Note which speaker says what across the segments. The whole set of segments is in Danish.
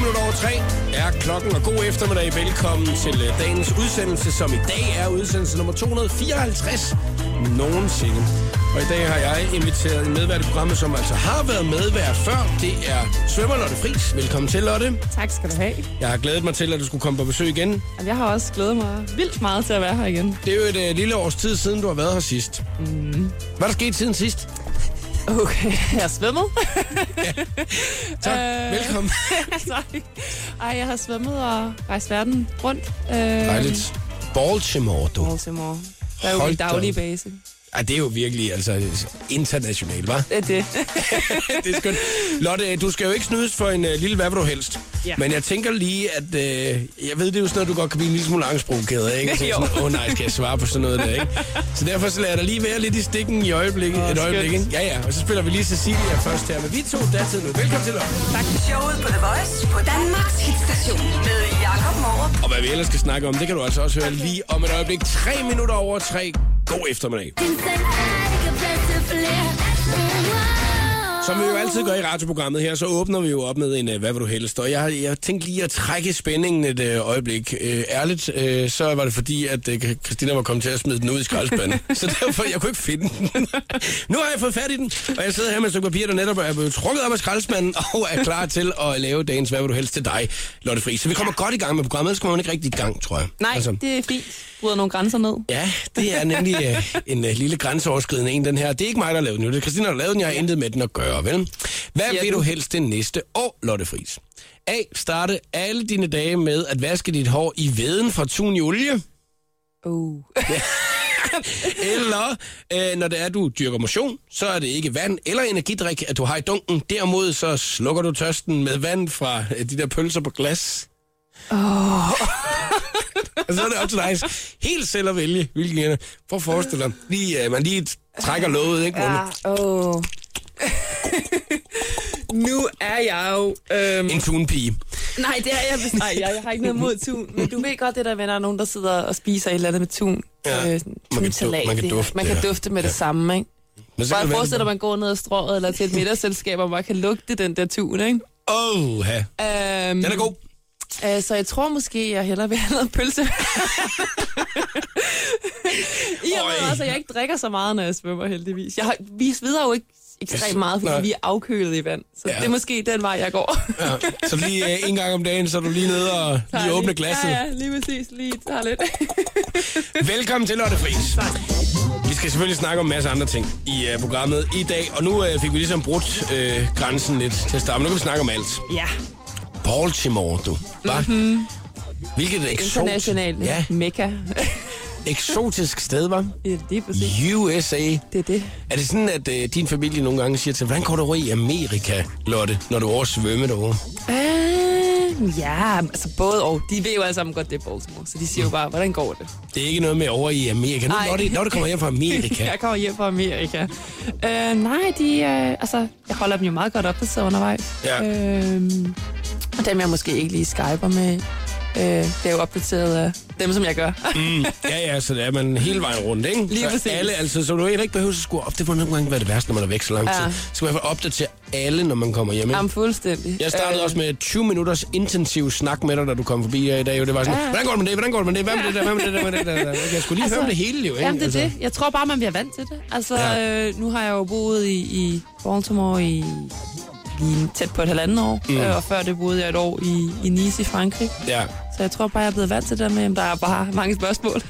Speaker 1: minutter over tre er klokken, og god eftermiddag. Velkommen til øh, dagens udsendelse, som i dag er udsendelse nummer 254 nogensinde. Og i dag har jeg inviteret en medvært i programmet, som altså har været medvært før. Det er svømmer Lotte Friis. Velkommen til, Lotte.
Speaker 2: Tak skal du have.
Speaker 1: Jeg har glædet mig til, at du skulle komme på besøg igen.
Speaker 2: Jamen, Jeg har også glædet mig vildt meget til at være her igen.
Speaker 1: Det er jo et øh, lille års tid siden, du har været her sidst. Mm. Hvad er der sket siden sidst?
Speaker 2: Okay, jeg har svømmet.
Speaker 1: Tak. Øh... Velkommen.
Speaker 2: Sorry. Ej, jeg har svømmet og rejst verden rundt. Øh,
Speaker 1: Dejligt. Baltimore, du.
Speaker 2: Baltimore. Der er jo
Speaker 1: Hold
Speaker 2: min
Speaker 1: da
Speaker 2: daglige
Speaker 1: op.
Speaker 2: base.
Speaker 1: Ej, det er jo virkelig altså, internationalt, hva'?
Speaker 2: Det er det.
Speaker 1: det er skønt. Lotte, øh, du skal jo ikke snydes for en uh, lille hvad vil du helst. Ja.
Speaker 2: Ja.
Speaker 1: Men jeg tænker lige, at uh, jeg ved, det er jo sådan noget, du godt kan blive en lille smule angstprovokeret af, ikke? Så
Speaker 2: Jo.
Speaker 1: Sådan, Åh oh, nej, skal jeg svare på sådan noget der, ikke? Så derfor så lader jeg dig lige være lidt i stikken i øjeblikket.
Speaker 2: Åh,
Speaker 1: et øjeblik,
Speaker 2: skønt.
Speaker 1: ikke? Ja, ja. Og så spiller vi lige Cecilia først her. Men vi to datid nu. Velkommen til, Lotte.
Speaker 3: Showet på The Voice på Danmarks hitstation med Jakob Morup.
Speaker 1: Og hvad vi ellers skal snakke om, det kan du altså også høre lige om et øjeblik. Tre minutter over tre. God eftermiddag. Som vi jo altid gør i radioprogrammet her, så åbner vi jo op med en, øh, hvad vil du helst. Og jeg, jeg tænkte lige at trække spændingen et øh, øjeblik. Øh, ærligt, øh, så var det fordi, at øh, Christina var kommet til at smide den ud i skraldespanden. så derfor, jeg kunne ikke finde den. nu har jeg fået fat i den, og jeg sidder her med et stykke papir, der netop er blevet trukket op af skraldespanden, og er klar til at lave dagens, hvad vil du helst til dig, Lotte Friis. Så vi kommer godt i gang med programmet, ellers kommer man ikke rigtig i gang, tror jeg. Altså,
Speaker 2: Nej, det er fint. Bryder nogle grænser ned.
Speaker 1: Ja, det er nemlig øh, en øh, lille grænseoverskridende en, den her. Det er ikke mig, der har lavet den. jo. Det er Christina, der har lavet den. Jeg har intet med den at gøre, vel? Hvad
Speaker 2: Siger
Speaker 1: vil du
Speaker 2: du?
Speaker 1: helst det næste år, Lotte Friis? A. Starte alle dine dage med at vaske dit hår i veden fra tun i olie.
Speaker 2: Oh.
Speaker 1: Eller, øh, når det er, du dyrker motion, så er det ikke vand eller energidrik, at du har i dunken. Derimod så slukker du tørsten med vand fra øh, de der pølser på glas. Oh. og så er det op til dig helt selv at vælge, hvilken ende. Prøv at forestille dig, lige, øh, man lige trækker låget, ikke? Ja.
Speaker 2: Oh. nu er jeg jo... Øhm,
Speaker 1: En tunpige.
Speaker 2: nej, det er jeg vist. Nej, jeg, jeg har ikke noget mod tun. Men du ved godt det der, med, når der er nogen, der sidder og spiser et eller andet med tun.
Speaker 1: Ja.
Speaker 2: Øh, sådan
Speaker 1: kan du-
Speaker 2: tunsalat,
Speaker 1: man kan
Speaker 2: det her.
Speaker 1: dufte
Speaker 2: man
Speaker 1: det,
Speaker 2: kan
Speaker 1: ja.
Speaker 2: dufte med det samme, ikke?
Speaker 1: Men så
Speaker 2: Bare
Speaker 1: kan
Speaker 2: forestil dig, at man går ned ad strået eller til et middagsselskab, og man kan lugte den der tun, ikke?
Speaker 1: Åh, ja.
Speaker 2: Øhm,
Speaker 1: Den er god.
Speaker 2: Øh, så jeg tror måske, jeg hellere vil have noget pølse. I og
Speaker 1: Øj.
Speaker 2: med også, at jeg ikke drikker så meget, når jeg svømmer heldigvis. Jeg har, vi sveder jo ikke
Speaker 1: Jeg
Speaker 2: ekstremt
Speaker 1: sy-
Speaker 2: meget, fordi
Speaker 1: nej.
Speaker 2: vi er afkølet i vand. Så
Speaker 1: Ja.
Speaker 2: ja. det er måske den vej, jeg går.
Speaker 1: Ja. Så lige øh, en gang om dagen, så er du lige nede og lige åbne glasset.
Speaker 2: Ja, ja, lige præcis. Lige tager lidt.
Speaker 1: Velkommen til Lotte Friis. Vi skal selvfølgelig snakke om en masse andre ting i uh, programmet i dag, og nu uh, fik vi ligesom brudt uh, grænsen lidt til at starte, men nu kan vi snakke om alt.
Speaker 2: ja, Mhm.
Speaker 1: Baltimore, du. Hva? Mm-hmm. Hvilket eksot,
Speaker 2: internationalt.
Speaker 1: ja,
Speaker 2: Ja. Mekka.
Speaker 1: eksotisk sted, var.
Speaker 2: ja, lige præcis.
Speaker 1: USA.
Speaker 2: Det er det.
Speaker 1: Er det sådan, at uh, din familie nogle gange siger til, hvordan går du over i Amerika, Lotte, når du oversvømmer derovre?
Speaker 2: Øh, ja, altså både og. De ved jo alle sammen godt, det er Baltimore, så de siger
Speaker 1: Mm.
Speaker 2: jo bare, hvordan går det?
Speaker 1: Det er ikke noget med over i Amerika. Nu,
Speaker 2: Nej.
Speaker 1: Lotte, Lotte kommer hjem fra Amerika.
Speaker 2: Jeg kommer hjem fra Amerika. Øh, nej, de, øh, altså, jeg holder dem jo meget godt opdateret undervejs.
Speaker 1: Ja.
Speaker 2: Øh, og dem, jeg måske ikke lige skyper med, øh, det er jo opdateret af dem, som jeg gør.
Speaker 1: Ja, ja, så det er man hele vejen rundt, ikke?
Speaker 2: Lige
Speaker 1: så
Speaker 2: præcis.
Speaker 1: Alle, altså, så du heller ikke behøver at skulle op. Det må nogle gange være det værste, når man er væk så lang tid.
Speaker 2: Ja.
Speaker 1: Så man får opdatere alle, når man kommer hjem. ikke?
Speaker 2: Jamen, fuldstændig.
Speaker 1: Jeg startede
Speaker 2: Øh,
Speaker 1: også med 20 minutters intensiv snak med dig, da du kom forbi her i dag. jo. Det var sådan,
Speaker 2: Ja.
Speaker 1: hvordan går det med det? Hvordan går det med det? Hvad med det der? Hvad med det der? Hvad med det der? Okay, Jeg skulle lige høre om det hele, jo. Ikke?
Speaker 2: Jamen, det
Speaker 1: Altså,
Speaker 2: er det. Jeg tror bare, man bliver vant til det. Altså,
Speaker 1: Ja.
Speaker 2: ja. øh, nu har jeg jo boet i, i Baltimore i lige tæt på et halvandet år, mm. øh, og før det boede jeg et år i, i Nice i Frankrig.
Speaker 1: Ja.
Speaker 2: Så jeg tror bare, jeg er blevet vant til det der med, at der er bare mange spørgsmål.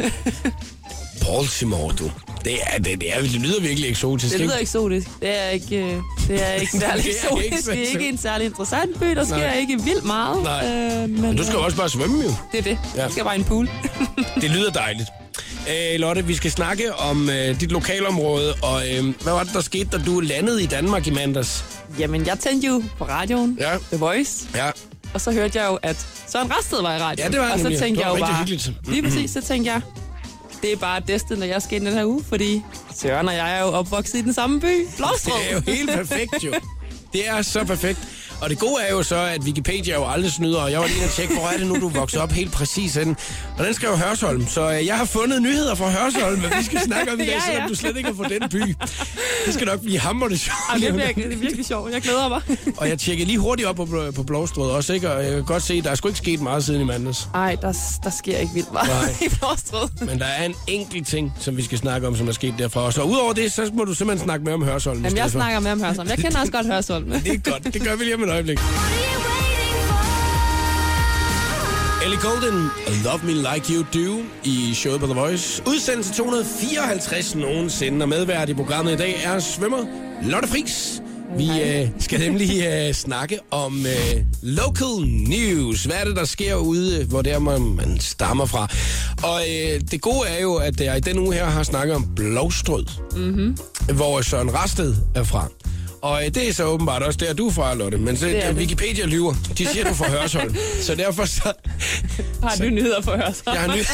Speaker 1: Baltimore, du. Det, er, det, det, er, det lyder virkelig eksotisk,
Speaker 2: Det lyder
Speaker 1: ikke?
Speaker 2: eksotisk. Det er ikke, øh, det er ikke særlig
Speaker 1: Det er
Speaker 2: eksotisk.
Speaker 1: ikke så
Speaker 2: det er ikke en særlig interessant by. Der sker
Speaker 1: Nej.
Speaker 2: ikke vildt meget.
Speaker 1: Nej.
Speaker 2: Øh,
Speaker 1: Men du skal
Speaker 2: øh,
Speaker 1: jo også bare svømme, jo.
Speaker 2: Det er det.
Speaker 1: Ja.
Speaker 2: Ja. Du skal bare i en pool.
Speaker 1: Det lyder dejligt. Øh, Lotte, vi skal snakke om øh, dit lokalområde, og øh, hvad var det, der skete, da du landede i Danmark i mandags?
Speaker 2: Jamen, jeg tændte jo på radioen.
Speaker 1: Ja.
Speaker 2: The Voice.
Speaker 1: Ja,
Speaker 2: Og så hørte jeg jo, at Søren Rasted var i radioen.
Speaker 1: Ja, det var han
Speaker 2: Og så
Speaker 1: nemlig.
Speaker 2: tænkte
Speaker 1: Det var
Speaker 2: jeg jo
Speaker 1: rigtig
Speaker 2: bare...
Speaker 1: hyggeligt.
Speaker 2: Lige præcis, så tænkte jeg... Det er bare destin, når jeg skal ind den her uge, fordi Søren og jeg er jo opvokset i den samme by, Blåstrød.
Speaker 1: Det er jo helt perfekt, jo. Det er så perfekt. Og det gode er jo så, at Wikipedia jo aldrig snyder, og jeg var lige inde og tjekke, hvor er det nu, du voksede op helt præcis henne. Og den skrev Hørsholm, så øh, jeg har fundet nyheder fra Hørsholm, hvad vi skal snakke om i dag,
Speaker 2: Ja, ja.
Speaker 1: selvom du slet ikke er fra den by. Det skal nok blive hammerende sjovt.
Speaker 2: Ej, det, bliver, det er virkelig sjovt. Jeg glæder mig.
Speaker 1: Og jeg tjekkede lige hurtigt op på, bl- på Blåstrød også, ikke? Og jeg kan godt se, at der er sgu ikke sket meget siden i mandags.
Speaker 2: Ej, der, der sker ikke vildt meget
Speaker 1: Nej.
Speaker 2: i Blåstrød.
Speaker 1: Men der er en enkelt ting, som vi skal snakke om, som er sket derfra også. Og udover det, så må du simpelthen snakke med om Hørsholm. i
Speaker 2: Jamen, jeg
Speaker 1: stedet for.
Speaker 2: snakker med om Hørsholm. Jeg kender også godt Hørsholm.
Speaker 1: Det er godt. Det gør vi lige om et øjeblik. Ellie Golden, Love Me Like You Do i showet på The Voice. Udsendelse 254 nogensinde, og medvært i programmet i dag er svømmer Lotte Friis. Vi
Speaker 2: Hej.
Speaker 1: øh, skal nemlig øh, snakke om øh, local news. Hvad er det, der sker ude, øh, hvor der man, man stammer fra? Og øh, det gode er jo, at jeg i den uge her har snakket om blovstrød
Speaker 2: Mm-hmm.
Speaker 1: hvor Søren Rasted er fra. Og øh, det er så åbenbart også der, du er fra, Lotte. Men så,
Speaker 2: Det er
Speaker 1: det
Speaker 2: det.
Speaker 1: Wikipedia lyver. De siger, du er fra Hørsholm. så derfor så...
Speaker 2: Har du nyheder for Hørsholm?
Speaker 1: Jeg har ny...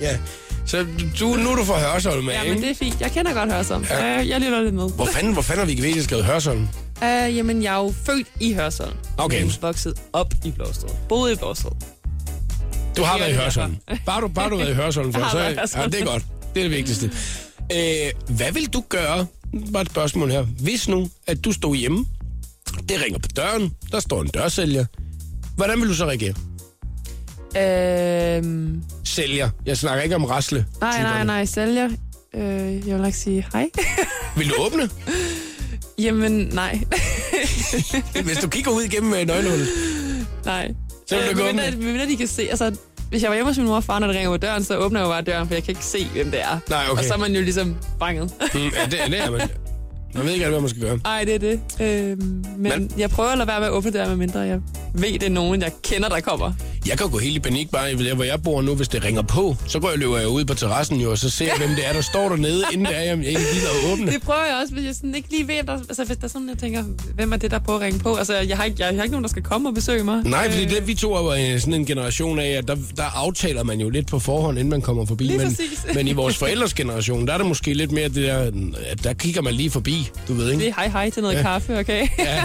Speaker 1: ja. Så du, nu er du fra Hørsholm, af,
Speaker 2: Jamen,
Speaker 1: ikke?
Speaker 2: det er fint. Jeg kender godt Hørsholm.
Speaker 1: Ja.
Speaker 2: Ja. Øh, jeg lytter lidt med.
Speaker 1: Hvor fanden, hvor fanden har Wikipedia skrevet Hørsholm?
Speaker 2: Øh, jamen, jeg er jo født i Hørsholm.
Speaker 1: Okay.
Speaker 2: Men vokset op i Blåstrød. Boede i Blåstrød.
Speaker 1: Du har været i
Speaker 2: det er
Speaker 1: Hørsholm. Bare du, bare du har været i Hørsholm
Speaker 2: Jeg
Speaker 1: for,
Speaker 2: har
Speaker 1: så
Speaker 2: været i
Speaker 1: ja,
Speaker 2: Hørsholm.
Speaker 1: det er godt. Det er det vigtigste. Øh, hvad vil du gøre, bare et spørgsmål her, hvis nu, at du stod hjemme, det ringer på døren, der står en dørsælger. Hvordan vil du så reagere?
Speaker 2: Øh,
Speaker 1: Sælger. Jeg snakker ikke om rasle.
Speaker 2: nej, nej, nej. Sælger. Øh, jeg vil ikke sige hej.
Speaker 1: Vil du åbne?
Speaker 2: jamen, nej.
Speaker 1: Hvis du kigger ud igennem øh, nøglehullet.
Speaker 2: Nej. Øh,
Speaker 1: Så vil du gå
Speaker 2: medmindre,
Speaker 1: med.
Speaker 2: medmindre de kan se, altså, hvis jeg var hjemme hos min mor og far, når det ringer på døren, så åbner jeg jo bare døren, for jeg kan ikke se, hvem det er.
Speaker 1: Nej, okay.
Speaker 2: Og så er man jo ligesom banget.
Speaker 1: Mm, ja, det, det er man. Man ved ikke alt, hvad man skal gøre.
Speaker 2: Ej, det er det. Øhm, men,
Speaker 1: Men-
Speaker 2: men, jeg prøver at lade være med at åbne døren, medmindre jeg ved, det er nogen, jeg kender, der kommer.
Speaker 1: Jeg kan jo gå helt i panik bare der, hvor jeg bor nu, hvis det ringer på. Så går jeg og løber jeg ud på terrassen jo, og så ser jeg, hvem det er, der står dernede, inden det er, jeg ikke gider at åbne.
Speaker 2: Det prøver jeg også, hvis jeg sådan ikke lige ved, om der, altså hvis der er sådan, jeg tænker, hvem er det, der prøver at ringe på? Altså, jeg har ikke, jeg, jeg har ikke nogen, der skal komme og besøge mig.
Speaker 1: Nej, fordi det, vi to er jo, øh, sådan en generation af, at der, der aftaler man jo lidt på forhånd, inden man kommer forbi.
Speaker 2: Lige
Speaker 1: men,
Speaker 2: præcis.
Speaker 1: men i vores forældres generation, der er det måske lidt mere det der, at der kigger man lige forbi, du ved,
Speaker 2: Det
Speaker 1: ikke?
Speaker 2: er hej hej til noget ja. kaffe, okay?
Speaker 1: Ja.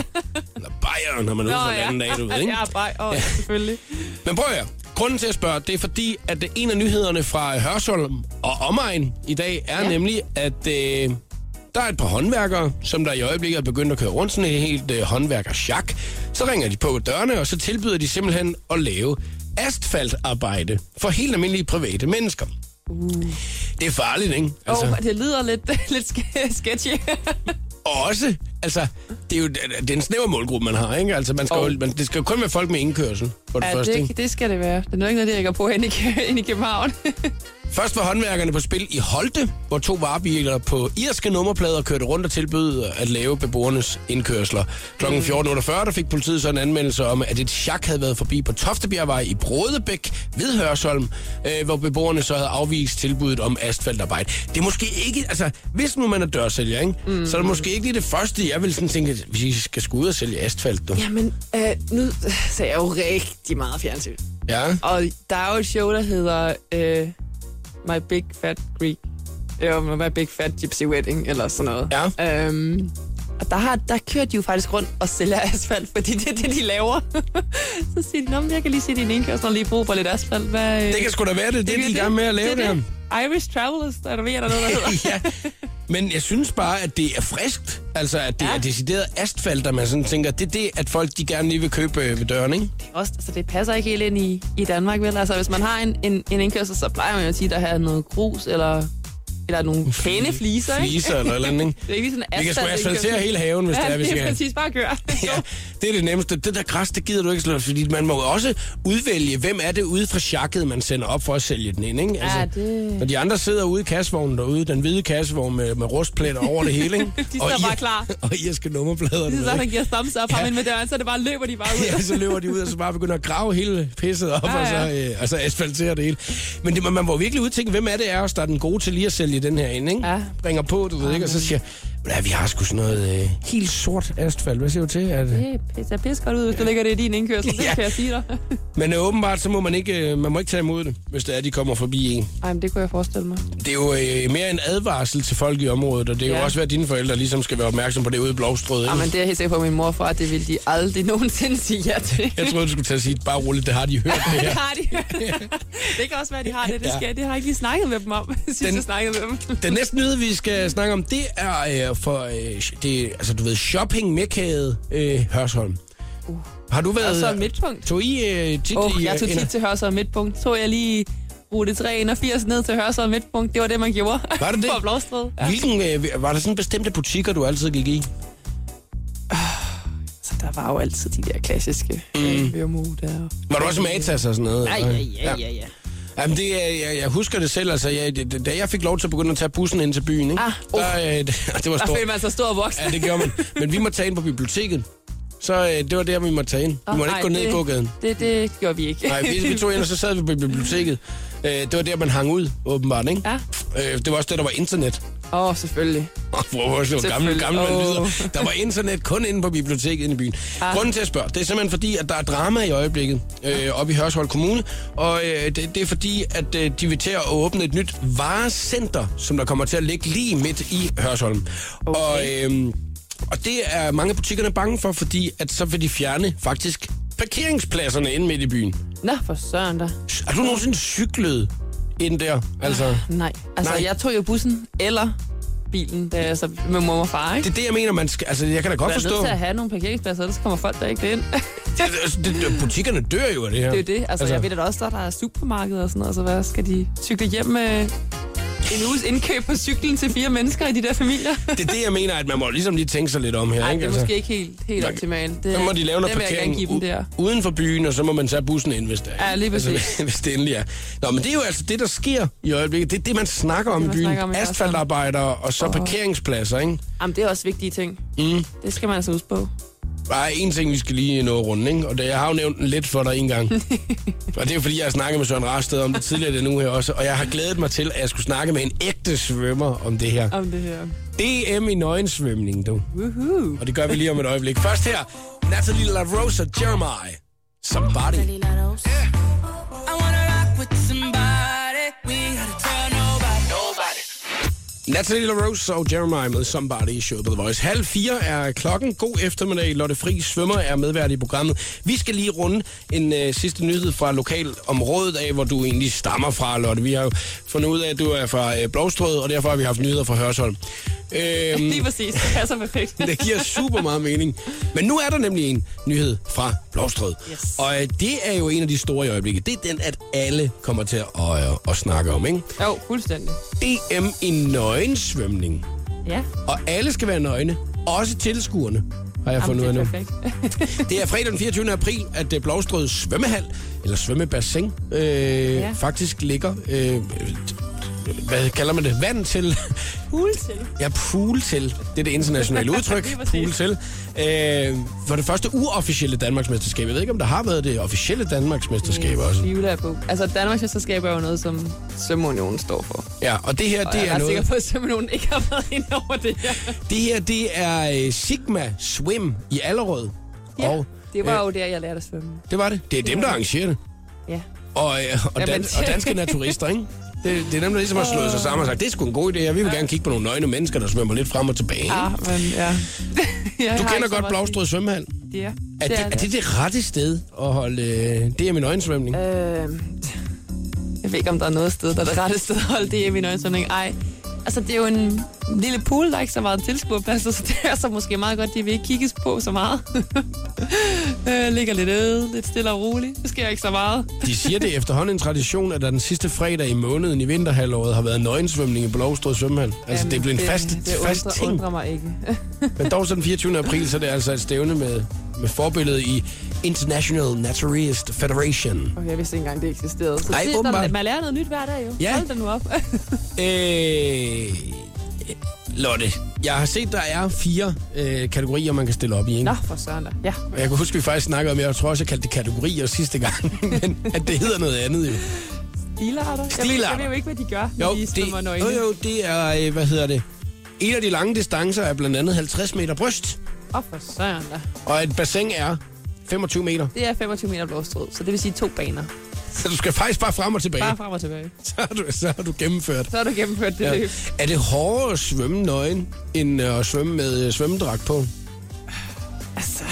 Speaker 1: Eller Bayern, når man er ude for den anden dag, du ved, ikke?
Speaker 2: Ja, bare, åh, selvfølgelig.
Speaker 1: Men prøv at høre. Grunden til at spørge, det er fordi, at øh, en af nyhederne fra øh, Hørsholm og omegn i dag er ja.
Speaker 2: Ja.
Speaker 1: nemlig, at øh, der er et par håndværkere, som der i øjeblikket er begyndt at køre rundt sådan et helt øh, håndværkersjak. Så ringer de på dørene, og så tilbyder de simpelthen at lave asfaltarbejde for helt almindelige private mennesker. Uh. Det er farligt, ikke?
Speaker 2: Altså. Oh, det lyder lidt, lidt ske- sketchy.
Speaker 1: Og også, altså, det er jo det er en snæver målgruppe, man har, ikke? Altså, man skal, oh.
Speaker 2: Og-
Speaker 1: jo, man, det skal jo kun være folk med indkørsel, for det
Speaker 2: ja,
Speaker 1: første, ikke?
Speaker 2: det, det skal det være. Det er nok ikke noget, det jeg går på inde i, Kø- inde i København.
Speaker 1: Først var håndværkerne på spil i Holte, hvor to varebiler på irske nummerplader kørte rundt og tilbød at lave beboernes indkørsler. Kl. 14.48 der fik politiet så en anmeldelse om, at et chak havde været forbi på Toftebjergvej i Brodebæk ved Hørsholm, øh, hvor beboerne så havde afvist tilbuddet om asfaltarbejde. Det er måske ikke, altså hvis nu man er dørsælger, ikke? Mm. så er det måske ikke lige det første, jeg vil sådan tænke, at vi skal skulle ud og sælge asfalt. Du.
Speaker 2: Jamen, øh, nu ser jeg jo rigtig meget fjernsyn.
Speaker 1: Ja.
Speaker 2: Og der er jo et show, der hedder øh, My Big Fat Greek. Jo, My Big Fat Gypsy Wedding, eller sådan noget. Ja. Øhm, og der, har, der kører de jo faktisk rundt og sælger asfalt, fordi det er det, de laver. så siger de, Nå, men jeg kan lige se din indkørsel og lige bruge på lidt asfalt. Hvad, øh,
Speaker 1: Det kan sgu da være det, det, det, det
Speaker 2: er
Speaker 1: de er i gang med at lave
Speaker 2: det,
Speaker 1: det.
Speaker 2: er det. Irish Travelers, der er der ved, at der er noget, der hedder.
Speaker 1: ja. Men jeg synes bare, at det er friskt. Altså, at det ja.
Speaker 2: Ja.
Speaker 1: er decideret asfalt, at man sådan tænker, det er det, at folk de gerne lige vil købe øh, ved døren, ikke?
Speaker 2: også, altså det passer ikke helt ind i, i Danmark, vel? Altså hvis man har en, en, en indkørsel, så plejer man jo tit at have noget grus eller, eller nogle pæne fliser, ikke?
Speaker 1: Fliser eller eller andet, ikke?
Speaker 2: Det er ikke sådan en
Speaker 1: Vi kan sgu
Speaker 2: asfalt-
Speaker 1: asfaltere
Speaker 2: indkørsel.
Speaker 1: hele haven, hvis
Speaker 2: ja,
Speaker 1: det er, vi
Speaker 2: det
Speaker 1: skal.
Speaker 2: er præcis bare gør.
Speaker 1: Ja, det er det nemmeste. Det der græs, det gider du ikke slå, fordi man må jo også udvælge, hvem er det ude fra sjakket, man sender op for at sælge den ind, ikke? Altså,
Speaker 2: Ja, det-
Speaker 1: Når de andre sidder ude i kassevognen derude, den hvide kassevogn med, med rustpletter over det hele, ikke?
Speaker 2: De står bare klar.
Speaker 1: Og irske nummerplader. du
Speaker 2: Det er
Speaker 1: ved,
Speaker 2: sådan,
Speaker 1: ikke?
Speaker 2: der giver thumbs up ham ind med døren, så det bare løber de bare ud.
Speaker 1: Ja, så løber de ud, og så bare begynder at grave hele pisset op, ja,
Speaker 2: Ja,
Speaker 1: ja. Og, så,
Speaker 2: ja.
Speaker 1: øh, og så asfaltere det hele. Men det, man må virkelig udtænke, hvem er det er os, der er den gode til lige at sælge den her ind, ikke?
Speaker 2: Ja.
Speaker 1: Ringer på, du ved ikke, og så siger, Ja, vi har sgu sådan noget øh, helt sort asfalt. Hvad siger du til? At,
Speaker 2: Det pisser pis godt ud, hvis du ligger det i din indkørsel. Det
Speaker 1: Ja.
Speaker 2: kan jeg sige dig.
Speaker 1: Men øh, åbenbart, så må man ikke, øh, man må ikke tage imod det, hvis det er, de kommer forbi en.
Speaker 2: Ej, men det kunne jeg forestille mig.
Speaker 1: Det er jo øh, mere en advarsel til folk i området, og det er ja. jo
Speaker 2: Ja.
Speaker 1: også, hvad dine forældre ligesom skal være opmærksom på det ude i Blovstrød.
Speaker 2: Ej, men det er jeg helt sikker på, at min mor og far, det ville de aldrig nogensinde sige ja til.
Speaker 1: Jeg troede, du skulle til at sige, bare roligt, det har de hørt det
Speaker 2: det
Speaker 1: her.
Speaker 2: har de. det kan også være, at de har det. Det,
Speaker 1: Ja.
Speaker 2: skal, det har jeg ikke lige snakket med dem om, sidst
Speaker 1: Den-
Speaker 2: jeg snakkede med dem.
Speaker 1: Den næste nyhed, vi skal snakke om, det er øh, for, øh, det, er, altså du ved, shopping mekade øh, Hørsholm. Har du været...
Speaker 2: Og så Uh. midtpunkt.
Speaker 1: Tog I øh, tit
Speaker 2: Åh, oh,
Speaker 1: i...
Speaker 2: jeg tog
Speaker 1: en-
Speaker 2: tit til Hørsholm Midtpunkt. Tog jeg lige rute 381 ned til Hørsholm Midtpunkt. Det var det, man gjorde.
Speaker 1: Var det det?
Speaker 2: På Blåstred. Ja.
Speaker 1: Hvilken, øh, var der sådan bestemte butikker, du altid gik i?
Speaker 2: Så der var jo altid de der klassiske mm. Vørmo der.
Speaker 1: Var du også med Atas og sådan noget?
Speaker 2: Ej,
Speaker 1: eller?
Speaker 2: ja, ja, ja, ja.
Speaker 1: Jamen, det, er- jeg, jeg husker det selv. Altså, jeg, det- det- da jeg fik lov til at begynde at tage bussen ind til byen, ikke?
Speaker 2: Ah, uh.
Speaker 1: der, øh, det, det var
Speaker 2: Der
Speaker 1: stort.
Speaker 2: følte man sig stor og voksen.
Speaker 1: Ja, det gjorde man. Men vi måtte tage ind på biblioteket. Så øh, det var der, vi måtte tage ind. Vi måtte
Speaker 2: Ej,
Speaker 1: ikke gå ned i
Speaker 2: det-
Speaker 1: gågaden.
Speaker 2: Det, det gjorde vi ikke.
Speaker 1: Nej, vi, vi tog ind, og så sad vi på biblioteket. Øh, det var der, man hang ud, åbenbart, ikke?
Speaker 2: Ja.
Speaker 1: Øh, det var også der, der var internet.
Speaker 2: Åh, oh, selvfølgelig.
Speaker 1: Åh, Hvor hvor så gammel,
Speaker 2: Selvfølgelig.
Speaker 1: gammel man
Speaker 2: Åh.
Speaker 1: lyder. Der var internet kun inde på biblioteket inde i byen.
Speaker 2: Ah.
Speaker 1: Grunden til at spørge, det er simpelthen fordi, at der er drama i øjeblikket øh, oppe i Hørsholm Kommune. Og øh, det, det er fordi, at øh, de vil til at åbne et nyt varecenter, som der kommer til at ligge lige midt i Hørsholm. Okay. Og, øh, og det er mange af butikkerne bange for, fordi at så vil de fjerne faktisk parkeringspladserne inde midt i byen.
Speaker 2: Nå, for søren da.
Speaker 1: Har du nogensinde cyklet ind der? Altså...
Speaker 2: Nej, altså
Speaker 1: Nej.
Speaker 2: Nej. jeg tog jo bussen eller bilen, da jeg så med mor og far, ikke?
Speaker 1: Det er det, jeg mener, man skal... Altså, jeg kan da godt
Speaker 2: Man er
Speaker 1: forstå...
Speaker 2: nødt til at have nogle parkeringspladser, ellers kommer folk der ikke ind.
Speaker 1: Det- altså, det, det, butikkerne dør jo af det her.
Speaker 2: Det er jo det. Altså,
Speaker 1: Altså-
Speaker 2: altså, jeg ved at der også, der, der er supermarkeder og sådan noget, så hvad skal de cykle hjem med en uges indkøb på cyklen til fire mennesker i de der familier?
Speaker 1: det er det, jeg mener, at man må ligesom lige tænke sig lidt om her.
Speaker 2: Nej, det
Speaker 1: ikke?
Speaker 2: er måske ikke helt, helt
Speaker 1: Nej,
Speaker 2: optimalt. Det,
Speaker 1: så Altså, må de lave noget
Speaker 2: den vil jeg gerne
Speaker 1: parkering
Speaker 2: give dem
Speaker 1: u-
Speaker 2: der.
Speaker 1: uden for byen, og så må man tage bussen ind, hvis det er.
Speaker 2: Ja, lige præcis.
Speaker 1: Altså, hvis det endelig er. Nå, men det er jo altså det, der sker i øjeblikket. Det er det, man snakker om i
Speaker 2: Det, man
Speaker 1: byen.
Speaker 2: snakker om i
Speaker 1: Asfaltarbejdere og så parkeringspladser, ikke?
Speaker 2: Jamen, det er også vigtige ting.
Speaker 1: Mm.
Speaker 2: Det skal man altså huske på.
Speaker 1: Der er én ting, vi skal lige nå rundt, ikke? Og det, jeg har jo nævnt den lidt for dig en gang. og det er jo fordi, jeg har snakket med Søren Rasted om det tidligere den uge her også. Og jeg har glædet mig til, at jeg skulle snakke med en ægte svømmer om det her.
Speaker 2: Om det her.
Speaker 1: Mm. DM i nøgensvømning, du.
Speaker 2: Woohoo.
Speaker 1: Og det gør vi lige om et øjeblik. Først her, Natalie La Rosa Jeremiah. Somebody. Natalie La Rosa og Jeremiah med Somebody i showet på The Voice. Halv fire er klokken. God eftermiddag. Lotte Fri Svømmer er medvært i programmet. Vi skal lige runde en øh, sidste nyhed fra lokalområdet af, hvor du egentlig stammer fra, Lotte. Vi har jo fundet ud af, at du er fra øh, Blåstrød, og derfor har vi haft nyheder fra Hørsholm. Øhm,
Speaker 2: Lige præcis. Det passer perfekt.
Speaker 1: Det giver super meget mening. Men nu er der nemlig en nyhed fra Blåstrød.
Speaker 2: Yes.
Speaker 1: Og øh, det er jo en af de store i øjeblikket. Det er den, at alle kommer til at, at, at snakke om. Ikke?
Speaker 2: Jo, fuldstændig.
Speaker 1: DM i nøgensvømning.
Speaker 2: Ja.
Speaker 1: Og alle skal være nøgne. Også tilskuerne, har jeg fundet ud af
Speaker 2: Jamen, det
Speaker 1: nu.
Speaker 2: er perfekt.
Speaker 1: Det er fredag den 24. april, at øh, Blåstrød svømmehal, eller svømmebassin, øh, ja.
Speaker 2: Ja.
Speaker 1: faktisk ligger... Øh, hvad kalder man det? Vand til
Speaker 2: Pool til.
Speaker 1: Ja, pool til. Det er det internationale udtryk.
Speaker 2: Lige præcis.
Speaker 1: pool til. Øh, for det første uofficielle Danmarksmesterskab. Jeg ved ikke, om der har været det officielle Danmarksmesterskab også.
Speaker 2: Tvivler jeg på. Altså, Danmarks Mesterskab er jo noget, som Svømmeunionen står for.
Speaker 1: Ja, og det her,
Speaker 2: Og
Speaker 1: det
Speaker 2: jeg
Speaker 1: er
Speaker 2: ret sikker
Speaker 1: noget...
Speaker 2: på, at Svømmeunionen ikke har været inde over det her.
Speaker 1: Det her, det er øh, Sigma Swim i Allerød. og,
Speaker 2: det var
Speaker 1: øh,
Speaker 2: jo der, jeg lærte at svømme.
Speaker 1: Det var det. Det er dem, der arrangerer det.
Speaker 2: Ja.
Speaker 1: Og, øh, og, dan-
Speaker 2: Jamen,
Speaker 1: og danske naturister, ikke? Det, det er dem, der ligesom har slået sig sammen og sagt, det er sgu en god idé, og vi vil gerne kigge på nogle nøgne mennesker, der svømmer lidt frem og tilbage. ikke?
Speaker 2: Ja, men ja. Jeg
Speaker 1: Du
Speaker 2: Ah, har
Speaker 1: kender
Speaker 2: ikke så
Speaker 1: godt
Speaker 2: meget at sige.
Speaker 1: Blåstrød Svømmehal.
Speaker 2: Ja.
Speaker 1: Er det, er det det rette sted at holde... Øh, det er min øjensvømning.
Speaker 2: Øh, jeg ved ikke, om der er noget sted, der er det rette sted at holde det i min øjensamling. Ej, altså det er jo en lille pool, der er ikke så meget tilskuerpladser, så det er så måske meget godt, det vil ikke kigges på så meget. øh, ligger lidt øde, lidt stille og roligt. Det sker ikke så meget.
Speaker 1: De siger, det er efterhånden en tradition, at der den sidste fredag i måneden i vinterhalvåret har været nøgensvømning i Blåstrød Svømmehal. Altså, det er blevet en fast,
Speaker 2: det, det
Speaker 1: fast
Speaker 2: undrer,
Speaker 1: ting.
Speaker 2: undrer mig ikke.
Speaker 1: Men dog så den 24. april, så er det altså et stævne med, med forbillede i International Naturist Federation.
Speaker 2: Okay, jeg vidste ikke engang, det eksisterede. Så
Speaker 1: Ej,
Speaker 2: det,
Speaker 1: åbenbart.
Speaker 2: der, man lærer noget nyt hver dag jo.
Speaker 1: Ja.
Speaker 2: Hold da nu op.
Speaker 1: Øh, Lotte, jeg har set, der er fire øh, kategorier, man kan stille op i. Ikke?
Speaker 2: Nå, for søren da. Ja.
Speaker 1: Og Jeg kan huske, vi faktisk snakkede om, jeg tror også, jeg kaldte det kategorier sidste gang, men at det hedder noget andet jo.
Speaker 2: Stilarter. Jeg ved,
Speaker 1: Stilarter.
Speaker 2: jeg ved jo ikke, hvad de gør, når
Speaker 1: Jo,
Speaker 2: de
Speaker 1: det,
Speaker 2: svømmer nøgne.
Speaker 1: jo, jo, det er, øh, hvad hedder det? En af de lange distancer er blandt andet 50 meter bryst,
Speaker 2: Åh, for søren da.
Speaker 1: og et bassin er 25 meter.
Speaker 2: Det er 25 meter blåstrød, så det vil sige to baner.
Speaker 1: Så du skal faktisk bare frem og tilbage.
Speaker 2: Bare frem og tilbage.
Speaker 1: Så har du, så har du gennemført.
Speaker 2: Så har du gennemført det
Speaker 1: Ja.
Speaker 2: løb.
Speaker 1: Er det hårdere at svømme nøgen, end øh, at svømme med øh, svømmedragt på?
Speaker 2: Altså,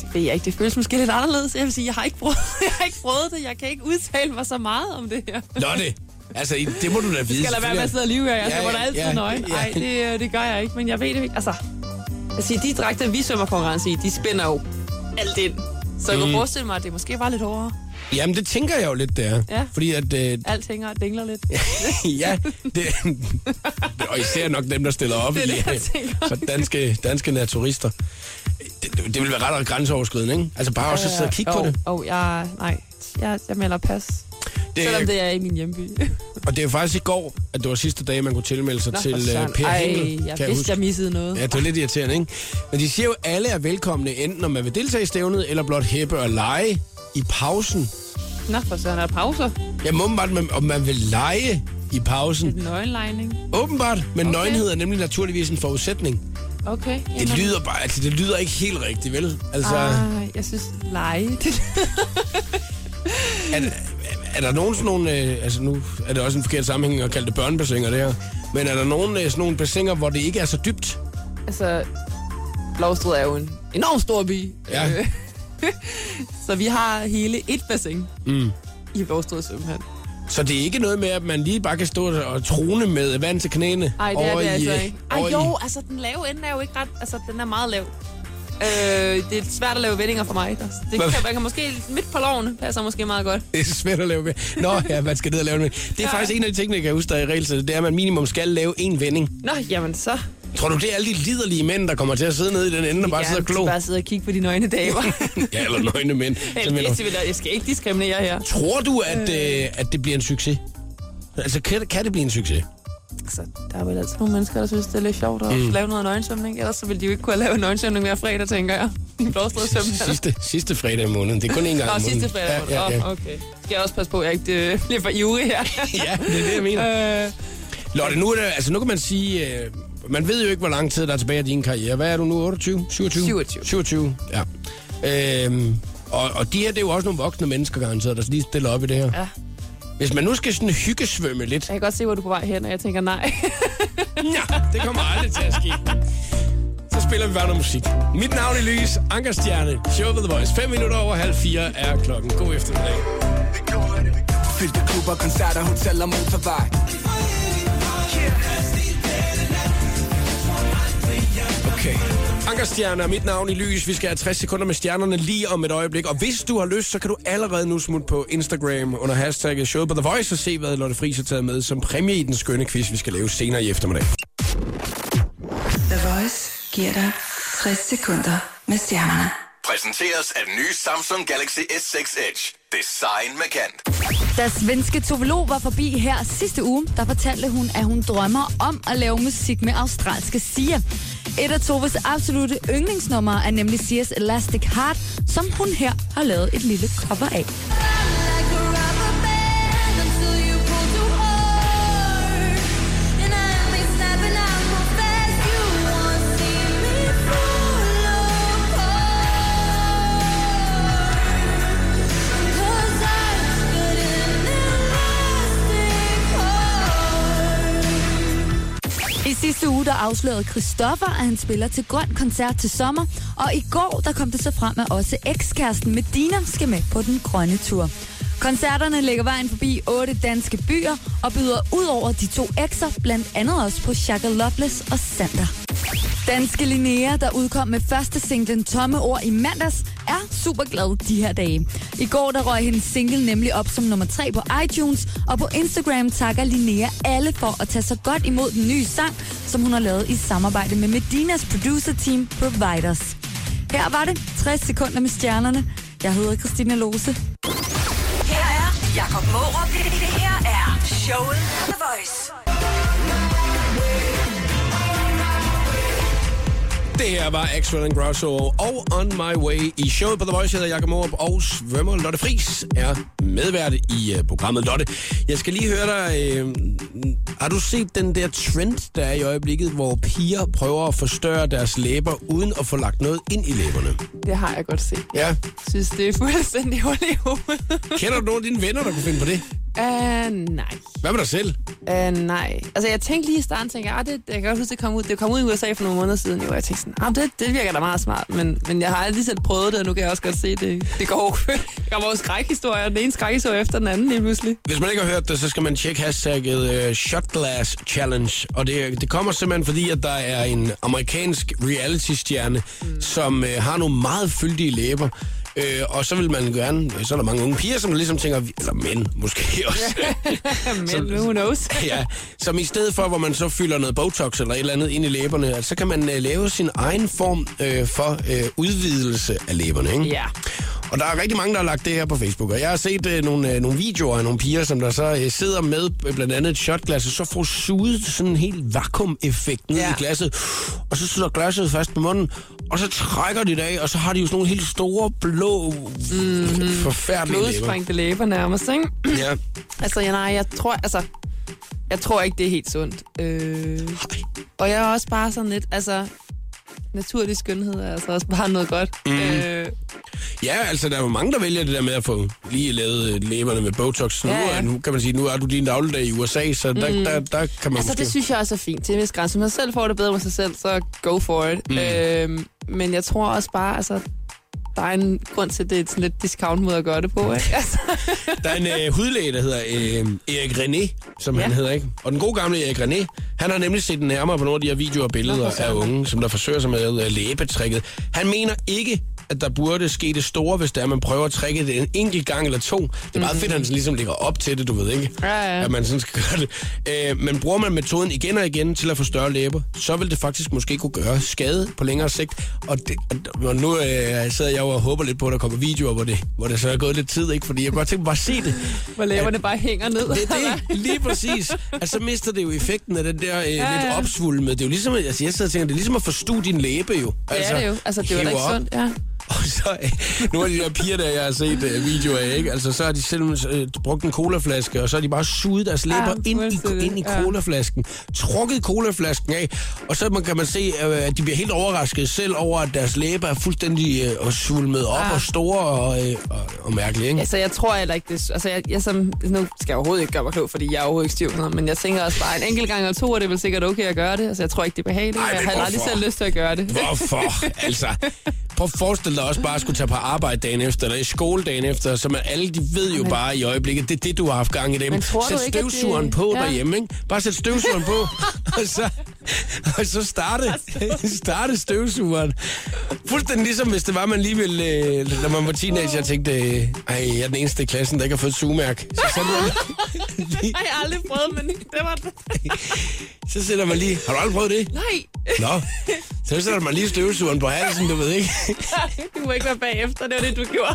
Speaker 2: det ved jeg ikke. Det føles måske lidt anderledes. Jeg vil sige, jeg har ikke prøvet, jeg har ikke prøvet det. Jeg kan ikke udtale mig så meget om det her.
Speaker 1: Nå det, altså i- det må du da vide.
Speaker 2: Skal der være med at sidde og lyve her? Jeg ja, svømmer ja, altid ja, nøgen.
Speaker 1: ja.
Speaker 2: Nej, det, øh, det gør jeg ikke, men jeg ved det ikke. Altså, jeg siger, de dragter, vi svømmer konkurrence i, de spænder jo alt ind. Så jeg mm. kunne forestille mig, at det måske var lidt hårdere.
Speaker 1: Jamen det tænker jeg jo lidt, det er.
Speaker 2: Ja.
Speaker 1: Fordi at, øh,
Speaker 2: Alt hænger og dingler lidt.
Speaker 1: ja, det, og især nok dem, der stiller op
Speaker 2: Det er det,
Speaker 1: i øh,
Speaker 2: jeg tænker.
Speaker 1: så danske, danske naturister. Det, det, det vil være ret grænseoverskridende, ikke? Altså bare også at sidde og kigge på
Speaker 2: Åh,
Speaker 1: det.
Speaker 2: Åh, jeg, nej, jeg, jeg melder pas.
Speaker 1: det
Speaker 2: Selvom det er i min hjemby.
Speaker 1: Og det er faktisk i går, at det var sidste dag, man kunne tilmelde sig
Speaker 2: Nå,
Speaker 1: til
Speaker 2: for
Speaker 1: uh,
Speaker 2: søren.
Speaker 1: Per Hengel.
Speaker 2: Ej, jeg vidste, jeg missede noget.
Speaker 1: Ja, det var lidt irriterende, ikke? Men de siger jo, at alle er velkomne, enten om man vil deltage i stævnet, eller blot hæppe og lege i pausen.
Speaker 2: Nå, for søren, er der pauser?
Speaker 1: Jeg må åbenbart, man- om man vil lege i pausen.
Speaker 2: Lidt nøgenlejning.
Speaker 1: Åbenbart, men okay. nøgenhed er nemlig naturligvis en forudsætning.
Speaker 2: Okay.
Speaker 1: Det lyder bare, altså det lyder ikke helt rigtigt, vel? Altså, ah.
Speaker 2: Ah, jeg synes, lege. Det-
Speaker 1: er, er der nogen sådan nogle, øh, altså nu er det også en forkert sammenhæng at kalde det børnebassiner det her, men er der nogen øh, sådan nogle bassiner, hvor det ikke er så dybt?
Speaker 2: altså, Lovstred er jo en enorm stor by.
Speaker 1: Ja.
Speaker 2: Øh, så vi har hele et bassin mm. i Lovstred svømmehal.
Speaker 1: Så det er ikke noget med, at man lige bare kan stå og trone med vand til knæene?
Speaker 2: Ej, det er
Speaker 1: over
Speaker 2: det altså
Speaker 1: øh,
Speaker 2: ikke. Ej,
Speaker 1: over
Speaker 2: jo, altså, den lave ende er jo ikke ret... Altså, den er meget lav. Øh, det er svært at lave vendinger for mig. Der- Det
Speaker 1: Hvad?
Speaker 2: kan, man kan måske midt på loven passer måske meget godt.
Speaker 1: Det er svært at lave med. Nå, ja, man skal ned og lave med. Det er ja.
Speaker 2: Ja.
Speaker 1: faktisk en af de ting, jeg kan huske, der er i regelsættet, det er, at man minimum skal lave en vending.
Speaker 2: Nå, jamen så.
Speaker 1: Tror du, det er alle de liderlige mænd, der kommer til at sidde nede i den ende og bare sidde og glo?
Speaker 2: Bare sidde og kigge på de nøgne damer.
Speaker 1: Ja, eller nøgne mænd. som ender-
Speaker 2: Heldigvis, vil jeg- jeg skal ikke diskriminere her.
Speaker 1: Tror du, at, øh, at det bliver en succes? Altså, kan, kan det blive en succes?
Speaker 2: Så der er vel altid nogle mennesker, der synes, det er lidt sjovt at mm. lave noget nøgensvømning. Ellers så ville de jo ikke kunne lave nøgensvømning hver fredag, tænker jeg. I blåstrede svømning.
Speaker 1: Sidste, sidste fredag i måneden. Det er kun én gang
Speaker 2: Nå,
Speaker 1: om måneden.
Speaker 2: sidste fredag.
Speaker 1: Ja, ja, ja.
Speaker 2: Åh, okay. Skal jeg også passe på, at jeg ikke øh, bliver for ivrig her?
Speaker 1: ja, det er det, jeg mener.
Speaker 2: øh,
Speaker 1: Lotte, nu, er det, altså, nu kan man sige... Øh, man ved jo ikke, hvor lang tid der er tilbage af din karriere. Hvad er du nu? 28? 27?
Speaker 2: 27.
Speaker 1: 27, ja. Øhm, og, og de her, det er jo også nogle voksne mennesker, garanteret, der lige stiller op i det her.
Speaker 2: ja.
Speaker 1: Hvis man nu skal sådan hyggesvømme lidt...
Speaker 2: Jeg kan godt se, hvor du er på vej hen, og jeg tænker nej.
Speaker 1: Ja, det kommer aldrig til at ske. Så spiller vi bare noget musik. Mit navn er Lys, Ankerstjerne, Show with the Voice. 5 minutter over halv fire er klokken. God eftermiddag.
Speaker 4: Fyldte klubber, koncerter, hoteller, motorvej
Speaker 1: Okay. Ankerstjerne er mit navn i lys. Vi skal have 60 sekunder med stjernerne lige om et øjeblik. Og hvis du har lyst, så kan du allerede nu smutte på Instagram under hashtagget Show på The Voice og se, hvad Lotte Friis har taget med som præmie i den skønne quiz, vi skal lave senere i eftermiddag.
Speaker 3: The Voice giver dig 60 sekunder med stjernerne.
Speaker 5: Præsenteres af den nye Samsung Galaxy S6 Edge. Design markant.
Speaker 6: Da svenske Tovelo var forbi her sidste uge, der fortalte hun, at hun drømmer om at lave musik med australske Sia. Et af Toves absolute yndlingsnumre er nemlig Sias Elastic Heart, som hun her har lavet et lille cover af. I sidste uge der afslørede Christoffer, at han spiller til Grøn Koncert til sommer, og i går der kom det så frem, at også ekskæresten Medina skal med på den grønne tur. Koncerterne lægger vejen forbi otte danske byer og byder ud over de to ekser, blandt andet også på Shaka Loveless og Sander. Danske Linnea, der udkom med første singlen Tomme Ord i mandags, er super glad de her dage. I går der røg hendes single nemlig op som nummer 3 på iTunes, og på Instagram takker Linnea alle for at tage så godt imod den nye sang, som hun har lavet i samarbejde med Medinas producer-team Providers. Her var det 60 sekunder med stjernerne. Jeg hedder Christina Lose.
Speaker 3: Her er Jakob Morup. Det, det her er showet på The Voice.
Speaker 1: Det her var Axel and Grosso og On My Way i showet på The Voice. Jeg hedder Jakob Morup og svømmer Lotte Fris er medvært i øh, programmet. Lotte, jeg skal lige høre dig. Øh, har du set den der trend, der er i øjeblikket, hvor piger prøver at forstørre deres læber uden at få lagt noget ind i læberne?
Speaker 2: Det har jeg godt set.
Speaker 1: Ja.
Speaker 2: Jeg synes, det er fuldstændig hul i hovedet.
Speaker 1: Kender du nogen af dine venner, der kunne finde på det?
Speaker 2: Uh, nej.
Speaker 1: Hvad med dig selv?
Speaker 2: Uh, nej. Altså, jeg tænkte lige i starten, tænkte jeg, ah, det, jeg kan godt huske, det kom ud. Det kom ud i USA for nogle måneder siden, jo, og jeg tænkte sådan, ah, det, det virker da meget smart, men, men jeg har aldrig selv prøvet det, og nu kan jeg også godt se, det, det går. der kommer jo skrækhistorier, den ene skrækhistorie efter den anden lige pludselig.
Speaker 1: Hvis man ikke har hørt det, så skal man tjekke hashtagget øh, Shotglass Challenge. Og det, det kommer simpelthen fordi, at der er en amerikansk reality-stjerne, mm. som øh, har nogle meget fyldige læber. Øh, og så vil man gerne, øh, så er der mange unge piger, som ligesom tænker, eller mænd måske også,
Speaker 2: men who knows?
Speaker 1: ja, som i stedet for, hvor man så fylder noget Botox eller et eller andet ind i læberne, at så kan man øh, lave sin egen form øh, for øh, udvidelse af læberne. Ikke?
Speaker 2: Ja.
Speaker 1: Og der er rigtig mange, der har lagt det her på Facebook, og jeg har set øh, nogle, øh, nogle videoer af nogle piger, som der så øh, sidder med øh, blandt andet et shotglas, og så får suget sådan en helt vakuum-effekt ned ja.
Speaker 2: Ja.
Speaker 1: i glasset, og så sidder glasset fast på munden, og så trækker de det af, og så har de jo sådan nogle helt store, blå,
Speaker 2: Mhm.
Speaker 1: mm-hmm. forfærdelige læber.
Speaker 2: Blodsprængte læber nærmest, ikke?
Speaker 1: Ja.
Speaker 2: Altså, ja, nej, jeg tror, altså, jeg tror ikke, det er helt sundt. Øh,
Speaker 1: Ej.
Speaker 2: og jeg er også bare sådan lidt, altså, naturlig skønhed er altså også bare noget godt. Mm. Øh,
Speaker 1: Ja, altså der er jo mange, der vælger det der med at få lige lavet øh, læberne med Botox. Nu,
Speaker 2: Ja, ja.
Speaker 1: er, nu kan man sige, nu er du din dagligdag i USA, så der, mm. der, der, der kan man
Speaker 2: altså,
Speaker 1: måske...
Speaker 2: det synes jeg også er fint til en vis grænse. Hvis man selv får det bedre med sig selv, så go for it. Mm. Øh, men jeg tror også bare, altså, der er en grund til, at det er et sådan lidt discount-måde at gøre det på, ikke? Altså,
Speaker 1: Der er en øh, hudlæge, der hedder øh, Erik René, som ja. han
Speaker 2: Ja.
Speaker 1: hedder, ikke? Og den gode gamle Erik René, han har nemlig set nærmere på nogle af de her videoer og billeder af unge, som der forsøger sig med øh, læbetrækket. Han mener ikke, at der burde ske det store, hvis det er, at man prøver at trække det en enkelt gang eller to. Det er meget mm. fedt, at han sådan ligesom ligger op til det, du ved ikke?
Speaker 2: Mhm. Ja, ja.
Speaker 1: At man sådan skal gøre det. Øh, men bruger man metoden igen og igen til at få større læber, så vil det faktisk måske kunne gøre skade på længere sigt. Og, det, og nu øh, sidder jeg jo og håber lidt på, at der kommer videoer, hvor det, hvor det så er gået lidt tid, ikke? Fordi jeg kunne godt tænker bare at se det.
Speaker 2: hvor læberne bare hænger ned.
Speaker 1: Det er det, lige præcis. Altså, så mister det jo effekten af den der øh, ja, lidt
Speaker 2: ja.
Speaker 1: opsvulmede. Det er jo ligesom, altså, jeg sidder og tænker, det er ligesom at forstue din læbe jo.
Speaker 2: det er det jo. Altså, det er jo da
Speaker 1: hiver
Speaker 2: ikke
Speaker 1: op.
Speaker 2: sundt, ja.
Speaker 1: Og så, øh, nogle af de der piger, der jeg har set øh, videoer af, ikke? Altså, så har de selv øh, brugt en colaflaske, og så har de bare suget deres læber
Speaker 2: Ja,
Speaker 1: ja, ind, i,
Speaker 2: fuldstændig.
Speaker 1: ind i
Speaker 2: Ja.
Speaker 1: colaflasken, trukket colaflasken af, og så man, kan man se, øh, at de bliver helt overrasket selv over, at deres læber er fuldstændig øh, og svulmet op ja.
Speaker 2: Ja.
Speaker 1: og store og, øh, og, og mærkelige, ikke?
Speaker 2: Altså, jeg tror heller ikke, det... Altså, jeg, jeg som, nu skal jeg overhovedet ikke gøre mig klog, fordi jeg er overhovedet ikke stiv, men jeg tænker også bare, en enkelt gang eller to er det vel sikkert okay at gøre det. Altså, jeg tror ikke, det er behageligt.
Speaker 1: Ej,
Speaker 2: Ej,
Speaker 1: men
Speaker 2: jeg har aldrig
Speaker 1: hvorfor?
Speaker 2: selv lyst til at gøre det.
Speaker 1: Hvorfor? Altså, prøv at forestille dig også bare at skulle tage på arbejde dagen efter, eller i skole dagen efter, så man, alle de ved jo bare i øjeblikket, det er det, du har haft gang i dem.
Speaker 2: Men tror du
Speaker 1: Sæt
Speaker 2: ikke, at det-
Speaker 1: støvsugeren på
Speaker 2: Ja.
Speaker 1: derhjemme, ikke? Bare sæt støvsugeren på, og så, og så starte, starte støvsugeren. Fuldstændig ligesom, hvis det var, man lige ville, øh, da man var teenager, tænkte, øh, ej, jeg er den eneste i klassen, der ikke har fået sugemærk. Så sætter man lige,
Speaker 2: Ej, jeg har aldrig prøvet, men det var det.
Speaker 1: så sætter man lige, har du aldrig prøvet det?
Speaker 2: Nej,
Speaker 1: Nå, så sætter man lige støvsugeren på halsen, du ved ikke?
Speaker 2: du må ikke være bagefter. Det var det, du gjorde.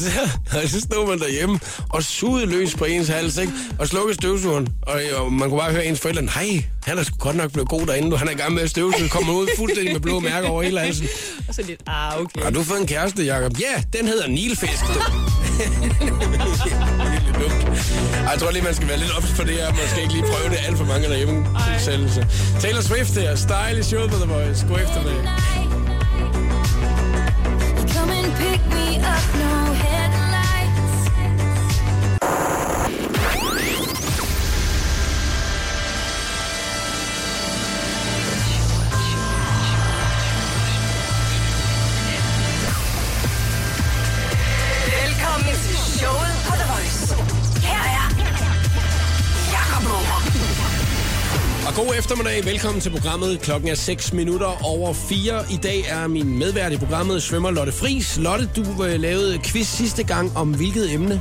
Speaker 1: Så, og så stod man derhjemme og sugede løs på ens hals, ikke? Og slukkede støvsugeren. Og, øh, og man kunne bare høre ens forældre, nej, han er sgu godt nok blevet god derinde. nu. Han er i gang med at støvsuge, kommer ud fuldstændig med blå mærker over hele halsen.
Speaker 2: Og så lidt, ah, okay.
Speaker 1: Har du fået en kæreste, Jacob? Ja, den hedder Nilfisk. du." Helt dumt. Ej, jeg tror lige, man skal være lidt ops på det her. Man skal ikke lige prøve det alt for mange derhjemme. Selv, så. Taylor Swift her. Style show på The Voice. God eftermiddag.
Speaker 7: Velkommen til showet på The Voice. Her er Jakob Morup.
Speaker 1: Og god eftermiddag. Velkommen til programmet. Klokken er 6 minutter over 4. I dag er min medvært i programmet svømmer Lotte Fris. Lotte, du øh, lavede quiz sidste gang om hvilket emne?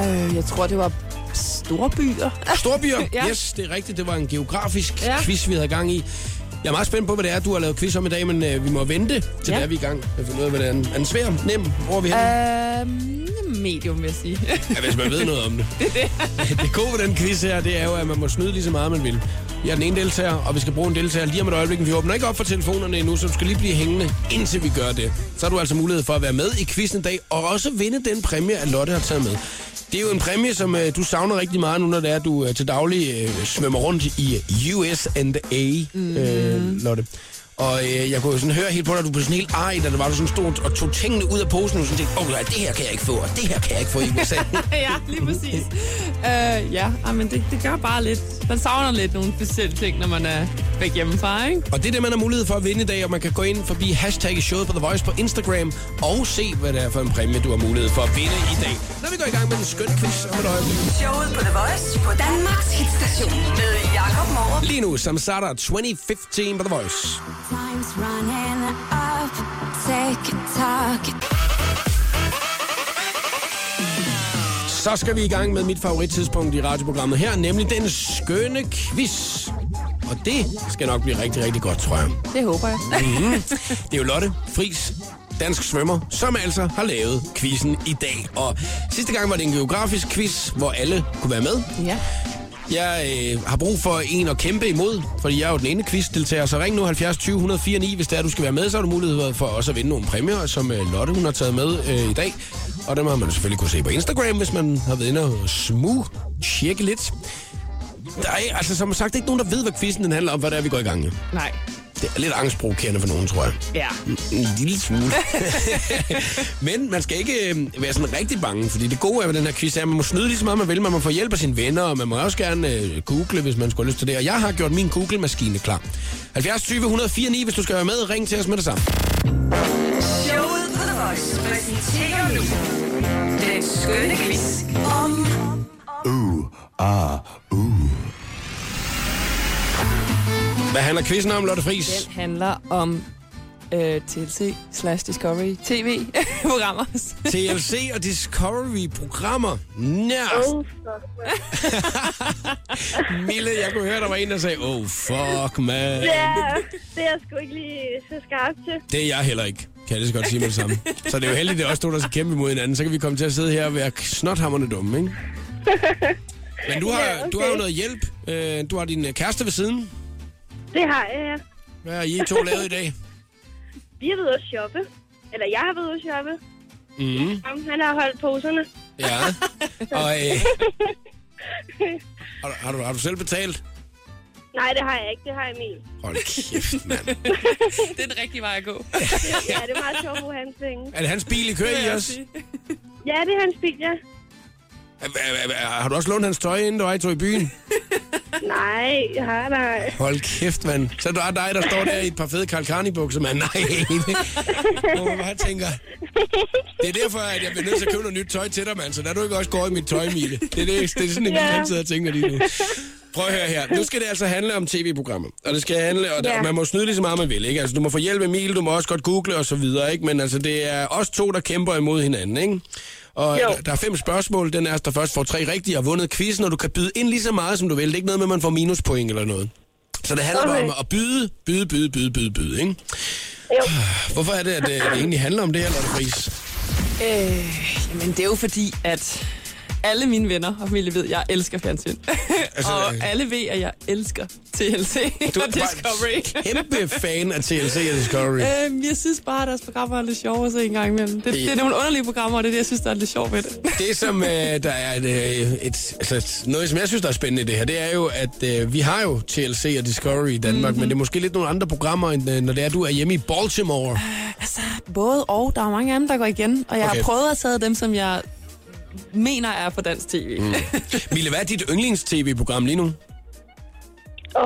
Speaker 2: Øh, jeg tror, det var store byer.
Speaker 1: Storbyer. ja.
Speaker 2: Ja.
Speaker 1: Yes, det er rigtigt. Det var en geografisk ja.
Speaker 2: Ja.
Speaker 1: quiz, vi havde gang i. Jeg er meget spændt på, hvad det er, du har lavet quiz om i dag, men øh, vi må vente til ja.
Speaker 2: Ja.
Speaker 1: det er vi er i gang. Jeg finder ud af, hvad det er. Er den svær? Nem? Hvor er vi henne?
Speaker 2: Øhm, medium, vil jeg sige.
Speaker 1: Ja, hvis man ved noget om det. Det er det. det gode ved den quiz her, det er jo, at man må snyde lige så meget, man vil. Jeg er den ene deltager, og vi skal bruge en deltager lige om et øjeblik. men Vi åbner ikke op for telefonerne endnu, så du skal lige blive hængende, indtil vi gør det. Så har du altså mulighed for at være med i quizzen i dag, og også vinde den præmie, at Lotte har taget med. Det er jo en præmie, som øh, du savner rigtig meget nu, når det er, at du øh, til daglig øh, svømmer rundt i US and A, øh, Lotte. Og øh, jeg kunne jo sådan høre helt på dig, at du blev sådan helt ej, da det var, du sådan stod og tog tingene ud af posen, og sådan tænkte, åh, oh, det her kan jeg ikke få, og det her kan jeg ikke få i USA.
Speaker 2: ja, lige præcis. Øh, ja, ej, men det, det gør bare lidt. Man savner lidt nogle specielle ting, når man er væk hjemmefra, ikke?
Speaker 1: Og det er det, man har mulighed for at vinde i dag, og man kan gå ind forbi hashtag showet på The Voice på Instagram og se, hvad det er for en præmie, du har mulighed for at vinde i dag. Når vi går i gang med den skønne quiz om et øjeblik.
Speaker 7: Showet på The Voice på Danmarks hitstation med Jakob Morup.
Speaker 1: Lige nu, Samsara 2015 på The Voice.
Speaker 8: Time's running up, take a talk.
Speaker 1: Så skal vi i gang med mit favorittidspunkt i radioprogrammet her, nemlig den skønne quiz. Og det skal nok blive rigtig, rigtig godt, tror jeg.
Speaker 2: Det håber jeg.
Speaker 1: Mm. Det er jo Lotte Fris, dansk svømmer, som altså har lavet quizzen i dag. Og sidste gang var det en geografisk quiz, hvor alle kunne være med.
Speaker 2: ja.
Speaker 1: Jeg øh, har brug for en at kæmpe imod, fordi jeg er jo den ene quizdeltager, så ring nu 70 20 104 9, hvis det er, du skal være med, så har du mulighed for også at vinde nogle præmier, som øh, Lotte hun har taget med øh, i dag. Og dem har man selvfølgelig kunne se på Instagram, hvis man har været inde og smug tjekke lidt. Der er altså som sagt ikke nogen, der ved, hvad quizzen den handler om, hvad det er, vi går i gang med.
Speaker 2: Nej.
Speaker 1: Det er lidt angstprovokerende for nogen, tror jeg.
Speaker 2: Ja.
Speaker 1: En lille smule. Men man skal ikke øh, være sådan rigtig bange, fordi det gode er ved den her quiz er, at man må snyde lige så meget, man vil. Man må få hjælp af sine venner, og man må også gerne øh, google, hvis man skulle have lyst til det. Og jeg har gjort min Google-maskine klar. 70 20 104 9, hvis du skal være med, ring til os med det samme.
Speaker 7: Showet på The Voice præsenterer nu den skønne quiz om...
Speaker 1: Hvad handler quizzen om, Lotte Friis?
Speaker 2: Den handler om øh, TLC slash Discovery TV-programmer.
Speaker 1: TLC og Discovery-programmer. Nærmest.
Speaker 9: Oh, fuck.
Speaker 1: Mille, jeg kunne høre, der var en, der sagde, oh fuck, man.
Speaker 9: Ja, det er jeg sgu ikke lige så skarp til.
Speaker 1: Det er jeg heller ikke. Kan jeg lige så godt sige med det samme. Så det er jo heldigt, det er også to, der skal kæmpe mod hinanden. Så kan vi komme til at sidde her og være snothammerne dumme, ikke? Men du har,
Speaker 9: Ja,
Speaker 1: yeah,
Speaker 9: okay.
Speaker 1: du har jo noget hjælp. Øh, Du har din øh, kæreste ved siden.
Speaker 9: Det har jeg, ja.
Speaker 1: Hvad har I to lavet i dag?
Speaker 9: Vi har været ude at shoppe. Eller jeg har været ude at shoppe.
Speaker 1: Mm,
Speaker 9: Ham, Han har holdt poserne.
Speaker 1: ja. Og, øh, har, du- har, du, har du selv betalt?
Speaker 9: Nej, det har jeg ikke. Det har Emil.
Speaker 1: Hold kæft, mand.
Speaker 2: det er den rigtige vej at gå.
Speaker 9: Ja, det er meget sjovt at bruge hans penge.
Speaker 1: Er det hans bil, I kører i også?
Speaker 9: Ja, det er hans bil, ja.
Speaker 1: Er- er- er- Har du også lånt hans tøj, inden du ej tog i byen?
Speaker 9: Nej, jeg har nej.
Speaker 1: Hold kæft, mand. Så der er dig, der står der i et par fede Karl Karni bukser, mand. Nej, Hvor man bare tænker... Det er derfor, at jeg bliver nødt til at købe noget nyt tøj til dig, mand. Så der er du ikke også går i mit tøj, Mille. Det er, det, det er sådan, at
Speaker 9: Ja.
Speaker 1: yeah. sidder og tænker lige nu. Prøv at høre her. Nu skal det altså handle om tv-programmer. Og det skal handle, og der,
Speaker 9: Ja.
Speaker 1: man må snyde lige så meget, man vil. Ikke? Altså, du må få hjælp af Emil, du må også godt google og så videre. Ikke? Men altså, det er os to, der kæmper imod hinanden. Ikke? Og
Speaker 9: Jo.
Speaker 1: der- der er fem spørgsmål. Den er, der først får tre rigtige og vundet quizzen, og du kan byde ind lige så meget, som du vil. Det er ikke noget med, at man får minuspoint eller noget. Så det handler okay.
Speaker 9: Okay.
Speaker 1: om at byde, byde, byde, byde, byde, byde, ikke?
Speaker 9: Jo.
Speaker 1: Hvorfor er det, at øh, det egentlig handler om det her, Lotte Friis?
Speaker 2: Øh, jamen, det er jo fordi, at alle mine venner og familie ved, at jeg elsker fjernsyn.
Speaker 1: Altså,
Speaker 2: Altså, og
Speaker 1: øh,
Speaker 2: alle ved, at jeg elsker TLC
Speaker 1: Du
Speaker 2: og Discovery.
Speaker 1: kæmpe fan af TLC og Discovery.
Speaker 2: Øhm, jeg synes bare, at deres programmer er lidt sjove at se en gang imellem. Det, det er nogle underlige programmer, og det er det, jeg synes, der er lidt sjovt ved det.
Speaker 1: Det, som øh, der er et, øh, et, altså, et- noget, som jeg synes, der er spændende i det her, det er jo, at øh, vi har jo TLC og Discovery i Danmark, mm-hmm. men det er måske lidt nogle andre programmer, end øh, når det er, du er hjemme i Baltimore.
Speaker 2: Altså, både og. Der er mange af dem, der går igen. Og jeg
Speaker 1: Okay.
Speaker 2: har prøvet at tage dem, som jeg mener er på dansk tv. Mm.
Speaker 1: Mille, hvad er dit yndlings-tv-program lige nu?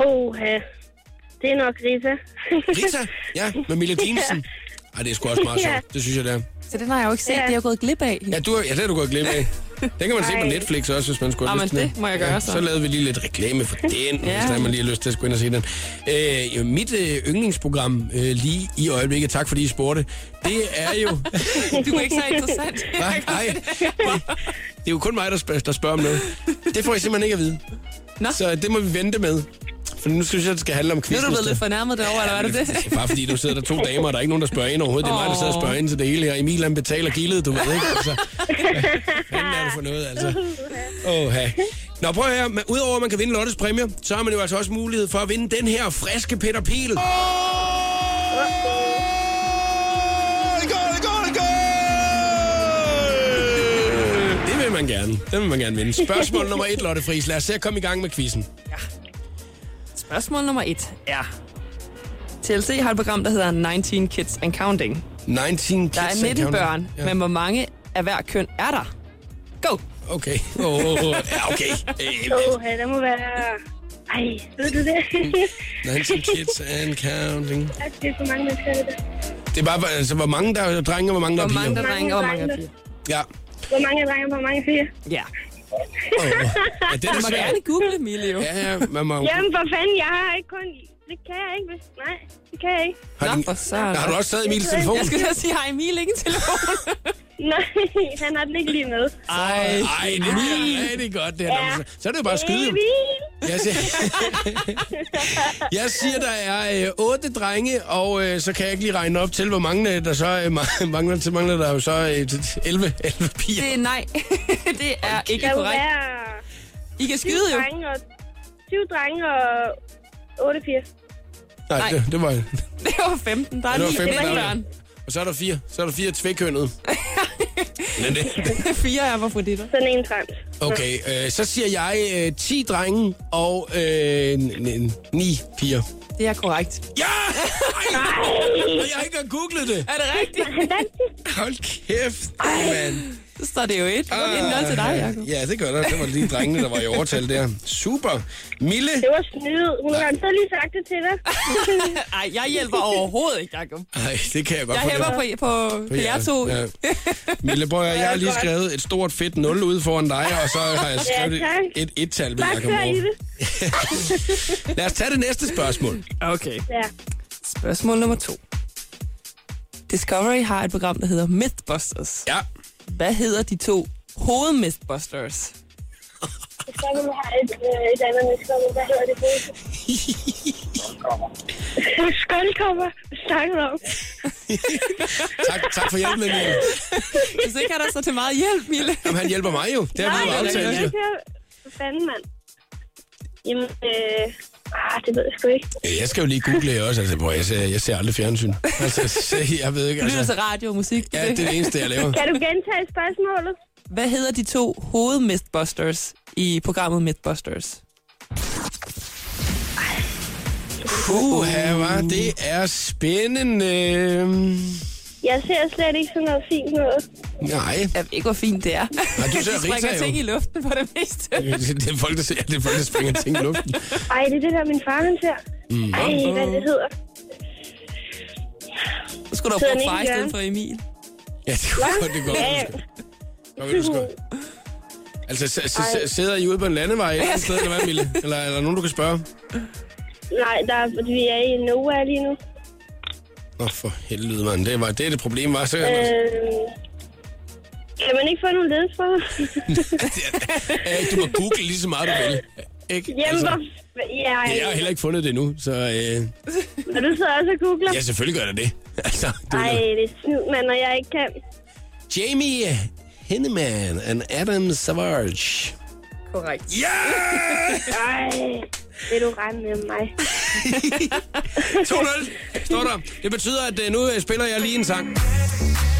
Speaker 9: Åh, ja. Det er nok Rita.
Speaker 1: Rita? Ja, med Mille Dinesen. Ej, det er sgu også meget
Speaker 9: Ja.
Speaker 1: sjovt. Det synes jeg, det er.
Speaker 2: Så den har jeg jo ikke set.
Speaker 9: Ja.
Speaker 2: Det er jeg gået glip af.
Speaker 1: Ja, du, har- ja det har du gået glip af. Den kan man se på
Speaker 9: Ej.
Speaker 1: Netflix også, hvis man skulle have
Speaker 2: Jamen,
Speaker 1: lyst til
Speaker 2: det må jeg gøre
Speaker 1: ja,
Speaker 2: så.
Speaker 1: Så lavede vi lige lidt reklame for den, ja. hvis der er, man lige har lyst til at skulle ind og se den. Øh, jo, mit øh, yndlingsprogram øh, lige i øjeblikket, tak fordi I spurgte, det er jo...
Speaker 2: Du er ikke så interessant.
Speaker 1: Nej, nej. Det, det er jo kun mig, der spørger, der spørger om noget. Det får I simpelthen ikke at vide.
Speaker 2: Nå.
Speaker 1: Så det må vi vente med. For nu synes jeg, det skal handle om
Speaker 2: Nu er
Speaker 1: quizzen.
Speaker 2: du blevet lidt
Speaker 1: for...
Speaker 2: fornærmet derovre, eller var det det?
Speaker 1: Bare fordi du sidder der to damer, og der er ikke nogen, der spørger ind overhovedet. Det er mig, der sidder og spørger ind til det hele her. Emil, han betaler gildet, du ved ikke. Altså, hvad fanden er det for noget, altså? Åh, Nå, prøv her. Udover at man kan vinde Lottes præmie, så har man jo altså også mulighed for at vinde den her friske Peter Piel. Det vil man gerne. Den vil man gerne vinde. Spørgsmål nummer et, Lotte Friis. Lad os se at komme i gang med quizzen.
Speaker 2: Spørgsmål nummer et er... TLC har et program, der hedder 19 Kids and Counting.
Speaker 1: 19 kids
Speaker 2: Der er 19
Speaker 1: account.
Speaker 2: børn, ja. men hvor mange af hver køn er der? Go!
Speaker 1: Okay. Åh, oh, oh, oh. ja, okay. Øh,
Speaker 9: Åh, der må være... Ej, ved du det?
Speaker 1: 19 kids and counting.
Speaker 9: At Altså, det er for mange mennesker, det der.
Speaker 1: Det er bare, altså, hvor mange der er drenge, og hvor mange der er
Speaker 2: Hvor mange
Speaker 1: piger.
Speaker 2: der er drenge, og hvor mange der er piger?
Speaker 1: Ja.
Speaker 9: Hvor mange drenge og hvor mange piger?
Speaker 2: Ja.
Speaker 1: Oh. ja, det er
Speaker 2: Du
Speaker 1: da
Speaker 2: må
Speaker 1: svært.
Speaker 2: gerne google, Emilie. jo.
Speaker 1: Ja, ja, man må...
Speaker 9: Jamen, for fanden, jeg har ikke kun... Det kan jeg ikke, hvis... Nej, det kan jeg ikke.
Speaker 1: Har,
Speaker 2: Nå,
Speaker 1: din...
Speaker 2: for søren.
Speaker 1: har du også taget Emils telefon?
Speaker 2: Jeg skulle da sige, har Emil ikke en telefon?
Speaker 9: Nej, han har den ikke lige med.
Speaker 2: Ej,
Speaker 1: Ej, det er rigtig godt, det her.
Speaker 9: Ja.
Speaker 1: Ja. Så er det jo bare at skyde. jo.
Speaker 9: Emil!
Speaker 1: Jeg siger, jeg siger der er øh, otte drenge, og øh, så kan jeg ikke lige regne op til, hvor mange øh, der så øh, ma- mangler. Så mangler der jo så øh, 11, 11 piger.
Speaker 2: det er nej. det er ikke
Speaker 9: Der må
Speaker 2: korrekt.
Speaker 9: være
Speaker 2: I kan
Speaker 9: 20
Speaker 2: skyde jo.
Speaker 9: drenge og... 20 drenge og 8 piger.
Speaker 1: Nej,
Speaker 2: nej.
Speaker 1: Det, det var...
Speaker 2: Det var 15. Der er
Speaker 1: det var
Speaker 2: lige
Speaker 1: 15, der
Speaker 2: 15
Speaker 1: var
Speaker 2: børn.
Speaker 1: Og så er der fire. Så er der fire tvækønnede. Men det,
Speaker 2: Fire er for ditter.
Speaker 9: Sådan en trans.
Speaker 1: okay, øh, så siger jeg øh, 10 drenge og øh, 9 piger.
Speaker 2: Det er korrekt.
Speaker 1: Ja! Ej! Og jeg har ikke engang googlet det.
Speaker 2: Er det rigtigt?
Speaker 1: Hold kæft, mand.
Speaker 2: Så står det jo et. Det er 0 til dig, Jacob.
Speaker 1: Ja, det gør der. Det var lige drengene, der var i overtal der. Super. Mille,
Speaker 9: Det var snyd. Hun har så lige sagt det til dig.
Speaker 2: Ej, jeg hjælper overhovedet ikke, Jacob.
Speaker 1: Nej, det kan jeg godt
Speaker 2: Jeg
Speaker 1: fornemme.
Speaker 2: hæpper på, på, på jer to.
Speaker 1: Mille, prøv at, høre, jeg har lige
Speaker 9: godt.
Speaker 1: skrevet et stort fedt 0 ude foran dig, og så har jeg skrevet
Speaker 9: Ja, tak.
Speaker 1: et et-tal ved
Speaker 9: Bare
Speaker 1: Jacob
Speaker 9: kør i
Speaker 1: Morgen.
Speaker 9: det.
Speaker 1: Lad os tage det næste spørgsmål.
Speaker 2: Okay.
Speaker 9: Ja.
Speaker 2: Spørgsmål nummer to. Discovery har et program, der hedder Mythbusters.
Speaker 1: Ja,
Speaker 2: Hvad hedder de to hoved-Mythbusters?
Speaker 9: Så vil du have et, øh, et andet næstkommer. Hvad hedder det? Skoldkommer. Snakket om.
Speaker 1: tak, tak for hjælpen, Mille.
Speaker 2: Hvis ikke er der så til meget hjælp, Mille.
Speaker 1: Jamen, han hjælper mig jo. Det har vi jo
Speaker 9: Nej, det
Speaker 1: aftalt.
Speaker 9: er
Speaker 1: jo.
Speaker 9: ikke For fanden, mand. Jamen, øh... Ah, det ved jeg sgu ikke.
Speaker 1: Øh, Jeg skal jo lige google her også. Altså, prøv, jeg, ser, jeg ser aldrig fjernsyn. Altså, se, jeg ved ikke.
Speaker 2: Lytter
Speaker 1: Altså,
Speaker 2: til radio og musik.
Speaker 1: ja, det er det eneste, jeg laver.
Speaker 9: Kan du gentage spørgsmålet?
Speaker 2: Hvad hedder de to hoved-Mythbusters i programmet Mythbusters?
Speaker 1: Puha, hva? Det er spændende.
Speaker 9: Jeg ser slet ikke sådan noget fint noget.
Speaker 1: Nej.
Speaker 2: Jeg ved ikke, hvor fint det er.
Speaker 1: Nej, du ser
Speaker 2: De springer
Speaker 1: Rita jo.
Speaker 2: ting i luften for det meste.
Speaker 1: Det er folk, der, ser, det er folk, der springer ting i luften.
Speaker 9: Ej, det er det der, min far, han ser.
Speaker 1: Mm.
Speaker 9: Ej, hvad det hedder.
Speaker 2: Så skulle du
Speaker 9: Sidder
Speaker 2: have brugt
Speaker 9: den
Speaker 2: far i
Speaker 9: ikke i
Speaker 2: stedet for Emil.
Speaker 1: Ja, det kunne godt, det kunne
Speaker 9: Ja,
Speaker 1: godt.
Speaker 9: ja.
Speaker 1: Hvad vil du skrive? Altså, s- s- s- sidder I ude på en landevej et eller andet sted, eller hvad, Mille? Eller er der nogen, du kan spørge?
Speaker 9: Nej, der er, vi er i Nova lige nu.
Speaker 1: Nå, for helvede, mand. Det, var, det er det problem, var. Så kan man...
Speaker 9: Øh, kan man ikke få nogle ledelsesråd?
Speaker 1: Øh, du må google lige så meget, du vil. Ikke? Altså,
Speaker 9: Jamen, hvor... Ja,
Speaker 1: jeg har heller ikke fundet det endnu, så øh,
Speaker 9: når du sidder også og googler.
Speaker 1: ja, selvfølgelig gør der det. Altså, du
Speaker 9: Ej, det er snyd, mand, når jeg ikke kan.
Speaker 1: Jamie Henneman and Adam Savage.
Speaker 2: Korrekt.
Speaker 9: Ej, vil du rende med mig?
Speaker 1: 2-0, står der. Det betyder, at øh, nu øh, spiller jeg lige en sang.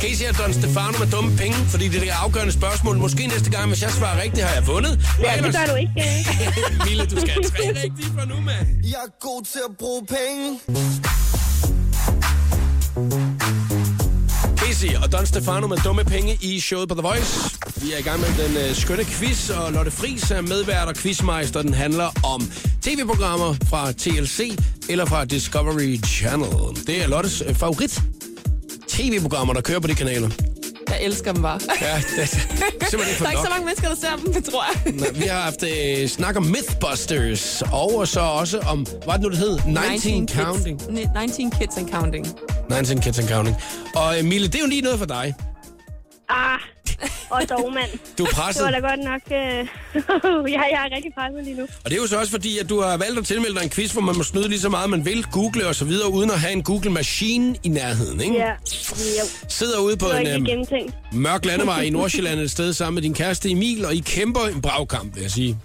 Speaker 1: Kan I se, at Don Stefano med dumme penge? Fordi det er det afgørende spørgsmål. Måske næste gang, hvis jeg svarer rigtigt, har jeg vundet.
Speaker 9: Ja, det gør du ikke. øh.
Speaker 1: Mille, du skal have tre rigtige fra nu, mand.
Speaker 4: Jeg er god til at bruge penge.
Speaker 1: Casey og Don Stefano med dumme penge i showet på The Voice. Vi er i gang med den øh, skønne quiz, og Lotte Friis er medvært og quizmeister. Den handler om tv-programmer fra TLC eller fra Discovery Channel. Det er Lottes øh, favorit tv-programmer, der kører på de kanaler.
Speaker 2: Jeg elsker dem bare.
Speaker 1: Ja, det er simpelthen ikke for
Speaker 2: Der er ikke
Speaker 1: nok.
Speaker 2: så mange mennesker, der ser dem, tror jeg.
Speaker 1: Nå, Vi har haft øh, snak om Mythbusters, og så også om, hvad det nu, det hed? 19, 19 Counting.
Speaker 2: Kids, Ne- 19 Kids and Counting.
Speaker 1: 19 Kids and Counting. Og øh, Mille, det er jo lige noget for dig.
Speaker 9: Ah, og dogmand.
Speaker 1: Du er
Speaker 9: Det
Speaker 1: presset.
Speaker 9: var da godt nok... Øh, ja, jeg er rigtig presset lige nu.
Speaker 1: Og det er jo så også fordi, at du har valgt at tilmelde dig en quiz, hvor man må snyde lige så meget, man vil, google og så videre, uden at have en Google-maskine i nærheden, ikke?
Speaker 9: Ja, jo.
Speaker 1: Sidder ude på
Speaker 9: Det var
Speaker 1: en
Speaker 9: ikke
Speaker 1: øhm,
Speaker 9: lige gennemtænkt.
Speaker 1: mørk landevej i Nordsjælland et sted sammen med din kæreste Emil, og I kæmper en bragkamp, vil jeg sige.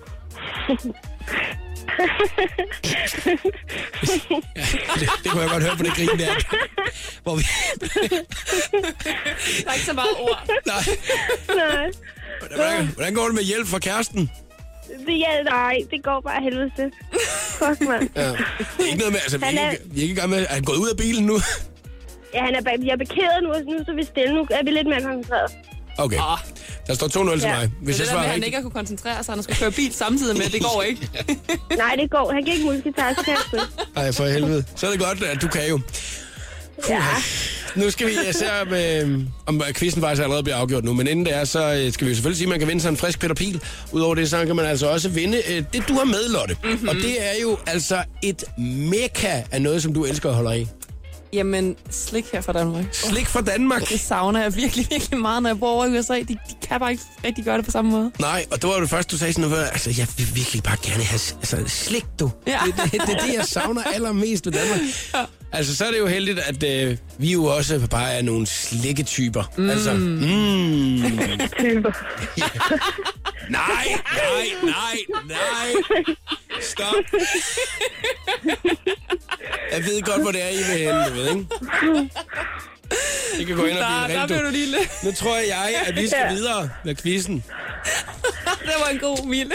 Speaker 1: ja, det, det kunne jeg godt høre på det grin der. Hvor vi,
Speaker 2: Der er ikke så meget ord.
Speaker 1: nej,
Speaker 9: Nej,
Speaker 1: hvordan, hvordan går det med hjælp fra kæresten?
Speaker 9: det, ja, nej, det går bare af helvede til. Fuck, mand.
Speaker 1: Ja. Det er ikke noget med, altså, vi er
Speaker 9: Han er-
Speaker 1: ikke, vi er ikke i gang med, er han gået ud af bilen nu?
Speaker 9: Ja, han er, bag- jeg er parkeret nu, og nu så er vi stille. Nu er vi lidt mere koncentreret.
Speaker 1: Okay,
Speaker 2: Åh,
Speaker 1: der står 2-0 til
Speaker 9: Ja.
Speaker 1: mig.
Speaker 2: Hvis
Speaker 1: Hvis
Speaker 2: Ah. det
Speaker 1: jeg
Speaker 2: der med,
Speaker 1: Ah, svarer
Speaker 2: at han
Speaker 1: rigtigt,
Speaker 2: ikke har kunne koncentrere sig, og han skulle køre bil samtidig med, det går ikke.
Speaker 9: Nej, det går. Han kan ikke multitaske. kan han sgu ikke.
Speaker 1: Ej, for helvede. Så er det godt, at du kan jo.
Speaker 9: Ja,
Speaker 1: Nu skal vi øh, se, om, øh, om quizzen faktisk allerede bliver afgjort nu. Men inden det er, så øh, skal vi jo selvfølgelig sige, at man kan vinde sig en frisk Peter Pil. Udover det, så kan man altså også vinde øh, det, du har med, Lotte. Mm-hmm. Og det er jo altså et mekka af noget, som du elsker at holde af.
Speaker 2: Jamen, slik her fra Danmark.
Speaker 1: Slik fra Danmark.
Speaker 2: Det savner jeg virkelig, virkelig meget, når jeg bor over i USA. De, de kan bare ikke rigtig gøre det på samme måde.
Speaker 1: Nej, og det var jo det første, du sagde sådan noget. Altså, jeg vil virkelig bare gerne have s- altså, slik, du.
Speaker 2: Ja.
Speaker 1: Det, det, det, er det, jeg savner allermest ved Danmark. Ja. Altså, så er det jo heldigt, at øh, vi jo også bare er nogle slikketyper. Mm. Altså, mm. Nej, nej, nej, nej. Stop. Jeg ved godt, hvor det er, I vil hen, du ved, ikke? I kan gå ind og
Speaker 2: Ah, Der,
Speaker 1: blive
Speaker 2: der
Speaker 1: rent,
Speaker 2: blev du lige lidt.
Speaker 1: Nu tror jeg, at vi skal videre med quizzen.
Speaker 2: Det var en god mile.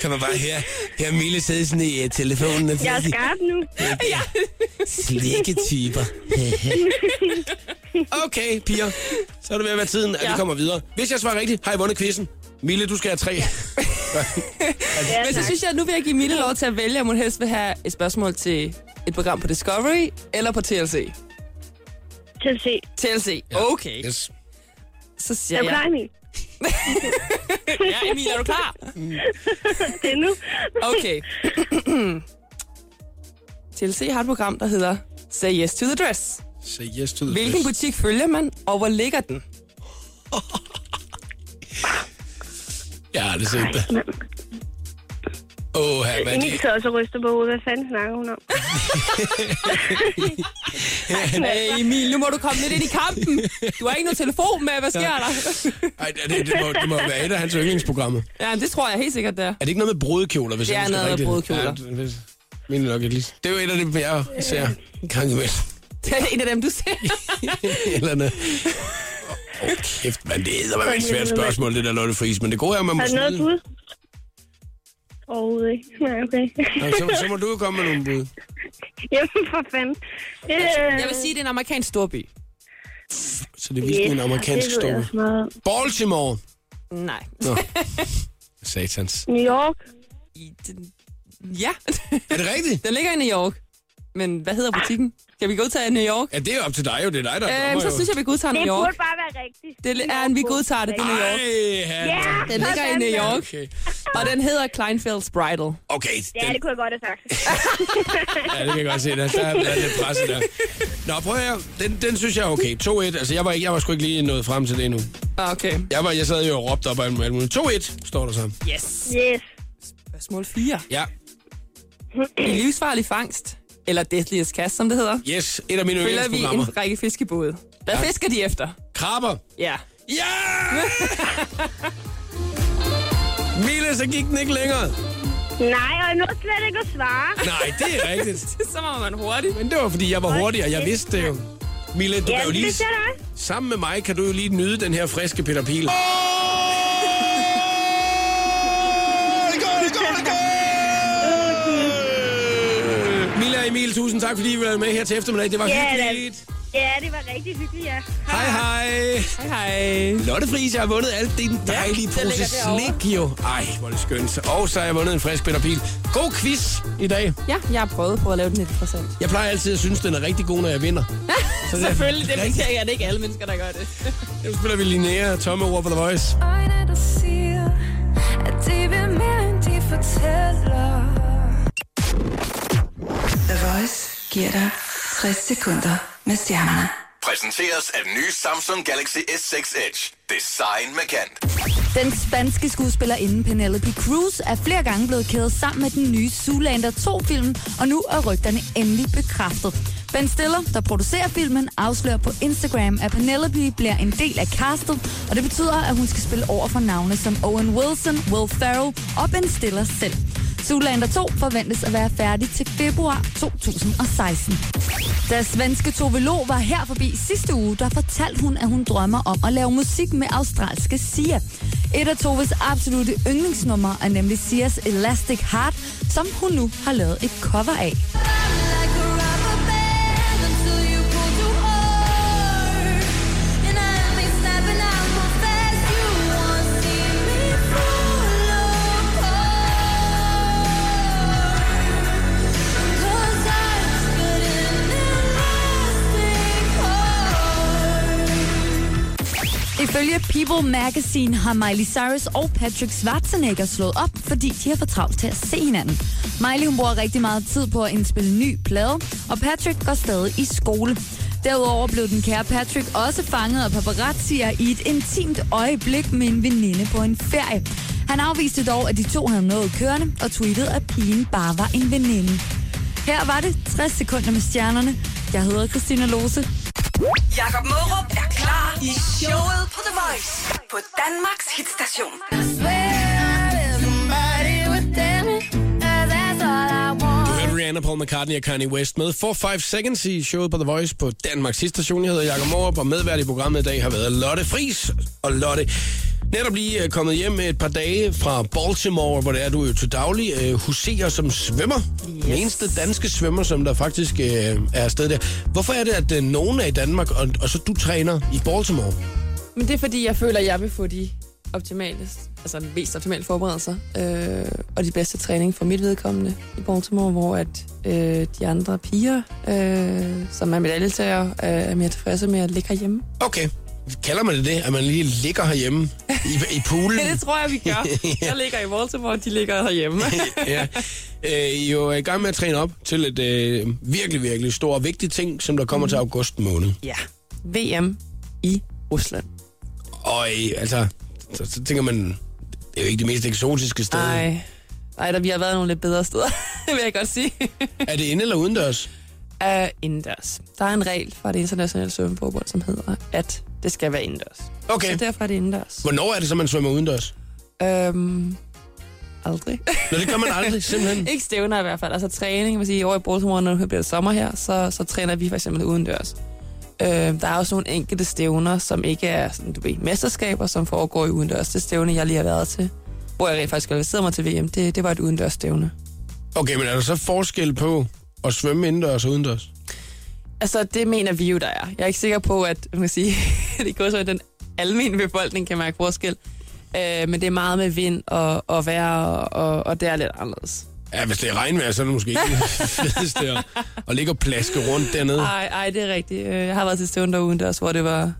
Speaker 1: Kan man bare høre, her Mille sidde sådan i uh, telefonen og
Speaker 9: jeg er
Speaker 1: sige,
Speaker 9: skarp nu.
Speaker 1: slikke typer. okay, piger. Så er det ved at være tiden, at ja.
Speaker 2: Ja.
Speaker 1: vi kommer videre. Hvis jeg svarer rigtigt, har jeg vundet quizzen. Mille, du skal have tre.
Speaker 9: Ja,
Speaker 2: Men så
Speaker 9: tak.
Speaker 2: Altså, synes jeg, at nu vil jeg give Mille lov til at vælge, om hun helst vil have et spørgsmål til et program på Discovery eller på TLC.
Speaker 9: Til at se.
Speaker 2: TLC. Okay.
Speaker 1: yes.
Speaker 2: Så
Speaker 9: Er
Speaker 2: siger
Speaker 9: du klar,
Speaker 2: jeg...
Speaker 9: Emil?
Speaker 2: Ja, Emil, er du klar?
Speaker 9: Det er nu.
Speaker 2: Okay. TLC har et program, der hedder Say Yes to the Dress.
Speaker 1: Say yes to the
Speaker 2: Hvilken
Speaker 1: quiz.
Speaker 2: butik følger man, og hvor ligger den?
Speaker 1: Jeg har aldrig set det. Åh, oh, hvad
Speaker 9: Emil
Speaker 1: det
Speaker 9: sidder også og ryster på hovedet. Hvad fanden snakker hun om?
Speaker 2: Hey Emil, nu må du komme lidt ind i kampen. Du har ikke noget telefon med, hvad sker der?
Speaker 1: Ej, det, det, det, må, det må være et af hans yndlingsprogrammer.
Speaker 2: Ja, det tror jeg helt sikkert, der.
Speaker 1: Er det ikke noget med brudekjoler, hvis
Speaker 2: Det
Speaker 1: jeg
Speaker 2: er
Speaker 1: husker
Speaker 2: noget med
Speaker 1: rigtigt?
Speaker 2: brudekjoler.
Speaker 1: Ja, det- det- mener nok ikke lige. Det er jo et af dem, jeg ser
Speaker 2: Øh.
Speaker 1: en gang imellem.
Speaker 2: Det er en af dem, du ser.
Speaker 1: eller noget. Åh, oh, kæft, man, det er eddermame et svært spørgsmål, det der Lotte Friis, men det gode er, at man må
Speaker 9: Har du noget
Speaker 1: snyde.
Speaker 9: bud? Overhovedet ikke. Nej, okay.
Speaker 1: Nå, så, så må du jo komme med nogle bud.
Speaker 9: Jamen, for fanden. Øh,
Speaker 2: Jeg vil sige, det er en amerikansk storby.
Speaker 1: Så det er virkelig en amerikansk
Speaker 9: det ved jeg
Speaker 1: stol.
Speaker 9: også meget om.
Speaker 1: Baltimore!
Speaker 2: Nej.
Speaker 1: Nå. Satans.
Speaker 9: New York.
Speaker 2: I den... Ja,
Speaker 1: Er det rigtigt?
Speaker 2: den ligger i New York. Men hvad hedder butikken? Kan vi gå ud til New York?
Speaker 1: Ja, det er jo op til dig jo, det er dig, der
Speaker 2: Øhm, så synes jeg, vi godtager
Speaker 9: Det
Speaker 2: New York.
Speaker 9: burde bare være rigtigt.
Speaker 2: Det er- ja, vi godtager det. Det er New York.
Speaker 1: Ej,
Speaker 9: Ja,
Speaker 1: ja.
Speaker 2: Den ligger i
Speaker 9: sådan
Speaker 2: New
Speaker 9: der.
Speaker 2: York,
Speaker 1: Okay,
Speaker 2: og den hedder Kleinfelds Bridal.
Speaker 1: okay
Speaker 9: Ja,
Speaker 1: den,
Speaker 9: det kunne jeg godt have sagt.
Speaker 1: ja, det kan jeg godt se, der, der er der er lidt presset der. Nå, prøv at høre. den, den synes jeg er okay. 2-1, altså jeg var, ikke, jeg var sgu ikke lige nået frem til det endnu.
Speaker 2: Ah, Okay.
Speaker 1: Jeg, var, jeg sad jo og råbte op af alt muligt. 2-1, står der så.
Speaker 2: Yes.
Speaker 9: Yes.
Speaker 2: Spørgsmål 4.
Speaker 1: Ja,
Speaker 2: I livsfarlig fangst, eller Deathliest Cast, som det hedder,
Speaker 1: yes, et af mine
Speaker 2: følger vi
Speaker 1: yndlingsprogrammer.
Speaker 2: en række fiskebåde. Hvad ja. fisker de efter?
Speaker 1: Krabber.
Speaker 2: Ja.
Speaker 1: Ja! Mille, så gik den ikke længere.
Speaker 9: Nej, og jeg nåede slet ikke at svare.
Speaker 1: Nej, det er rigtigt.
Speaker 2: Så var man hurtig.
Speaker 1: Men det var, fordi jeg var hurtig, og jeg vidste det jo. Mille, du
Speaker 9: Ja,
Speaker 1: kan jo
Speaker 9: det
Speaker 1: lige...
Speaker 9: vidste jeg da også.
Speaker 1: Sammen med mig kan du jo lige nyde den her friske Peter Pil. Oh!
Speaker 4: Det går, det går, det går!
Speaker 1: Mille og Emil, tusind tak, fordi I var med her til eftermiddag. Det var
Speaker 9: Ja, da.
Speaker 1: hyggeligt.
Speaker 9: Ja, det var rigtig hyggeligt, ja.
Speaker 1: Hej, hej.
Speaker 2: Hej, hej.
Speaker 1: Lotte Friis, jeg har vundet alt det den dejlige
Speaker 2: det
Speaker 1: pose
Speaker 2: ligger derovre.
Speaker 1: slik, jo. Ej, hvor er det skønt. Og så har jeg vundet en frisk Peter Pil. God quiz i dag.
Speaker 2: Ja, jeg har prøvet på at lave den lidt interessant.
Speaker 1: Jeg plejer altid at synes, den er rigtig god, når jeg vinder. Så det-
Speaker 2: Selvfølgelig, det er det ikke alle mennesker, der gør det.
Speaker 1: Nu spiller vi Linnea og Tomme over på The Voice.
Speaker 8: Øjne, der siger, at de vil mere, end de fortæller.
Speaker 3: The Voice giver dig 60 sekunder med stjernerne.
Speaker 5: præsenteres af den nye Samsung Galaxy S6 Edge. Design markant.
Speaker 6: Den spanske skuespillerinde Penelope Cruz er flere gange blevet kædet sammen med den nye Zoolander 2-film, og nu er rygterne endelig bekræftet. Ben Stiller, der producerer filmen, afslører på Instagram, at Penelope bliver en del af castet, og det betyder, at hun skal spille over for navne som Owen Wilson, Will Ferrell og Ben Stiller selv. Zoolander 2 forventes at være færdig til februar 2016. Da svenske Tove Lo var her forbi sidste uge, der fortalte hun, at hun drømmer om at lave musik med australske Sia. Et af Toves absolute yndlingsnumre er nemlig Sias Elastic Heart, som hun nu har lavet et cover af. Ifølge People Magazine har Miley Cyrus og Patrick Schwarzenegger slået op, fordi de har for travlt til at se hinanden. Miley hun bruger rigtig meget tid på at indspille ny plade, og Patrick går stadig i skole. Derudover blev den kære Patrick også fanget af paparazzier i et intimt øjeblik med en veninde på en ferie. Han afviste dog, at de to havde noget kørende, og tweetede, at pigen bare var en veninde. Her var det 60 sekunder med stjernerne. Jeg hedder Christina Lose.
Speaker 7: Jakob Mørup er klar i showet på The Voice på Danmarks hitstation.
Speaker 1: Du hørte Rihanna, Paul McCartney og Kanye West med 4-5 Seconds i showet på The Voice på Danmarks station. Jeg hedder Jakob Morup, og medvært i programmet i dag har været Lotte Fris og Lotte. Netop lige øh, kommet hjem et par dage fra Baltimore, hvor det er, du jo til daglig øh, huserer som svømmer. Yes. Den eneste danske svømmer, som der faktisk øh, er afsted der. Hvorfor er det, at øh, nogen er i Danmark, og, og så du træner i Baltimore?
Speaker 2: Men det er fordi, jeg føler, at jeg vil få de optimale, altså de mest optimale forberedelser, øh, og de bedste træning for mit vedkommende i Baltimore, hvor at øh, de andre piger, øh, som er medaljetager, øh, er mere tilfredse med at ligge herhjemme.
Speaker 1: Okay. Kalder man det det, at man lige ligger herhjemme i, i poolen?
Speaker 2: Ja, det tror jeg, vi gør. Jeg ligger i Baltimore, de ligger herhjemme.
Speaker 1: ja. Øh, I er jo i gang med at træne op til et øh, virkelig, virkelig stor og vigtig ting, som der kommer til august måned.
Speaker 2: ja. VM i Rusland.
Speaker 1: Og øh, altså, så, så tænker man, det er jo ikke det mest eksotiske sted.
Speaker 2: Nej. Ej, der, vi har været nogle lidt bedre steder, vil jeg godt sige.
Speaker 1: Er det inde eller udendørs?
Speaker 2: Uh, indendørs. Der er en regel fra det internationale svømmeforbund, som hedder, at det skal være indendørs.
Speaker 1: Okay.
Speaker 2: Så derfor er det indendørs.
Speaker 1: Hvornår er det så, man svømmer udendørs?
Speaker 2: Øhm, aldrig.
Speaker 1: Nå, det gør man aldrig, simpelthen.
Speaker 2: Ikke stævner i hvert fald. Altså træning, man siger, over i Baltimore, når det bliver sommer her, så, så træner vi for eksempel udendørs. Øhm, der er også nogle enkelte stævner, som ikke er sådan, du ved, mesterskaber, som foregår i udendørs. Det stævne, jeg lige har været til, hvor jeg rent faktisk kvalificerede mig til VM, det, det var et udendørs stævne.
Speaker 1: Okay, men er der så forskel på at svømme indendørs og udendørs?
Speaker 2: Altså, det mener vi jo, der er. Jeg er ikke sikker på, at man kan sige, det går så, at den almindelige befolkning kan mærke forskel. Øh, men det er meget med vind og, og vejr, og, og det er lidt anderledes.
Speaker 1: Ja, hvis det er regnvejr, så er det måske ikke det fedeste at, at ligge og plaske rundt dernede.
Speaker 2: Ej, ej, det er rigtigt. Øh, Jeg har været til stævne derude udendørs, hvor det var...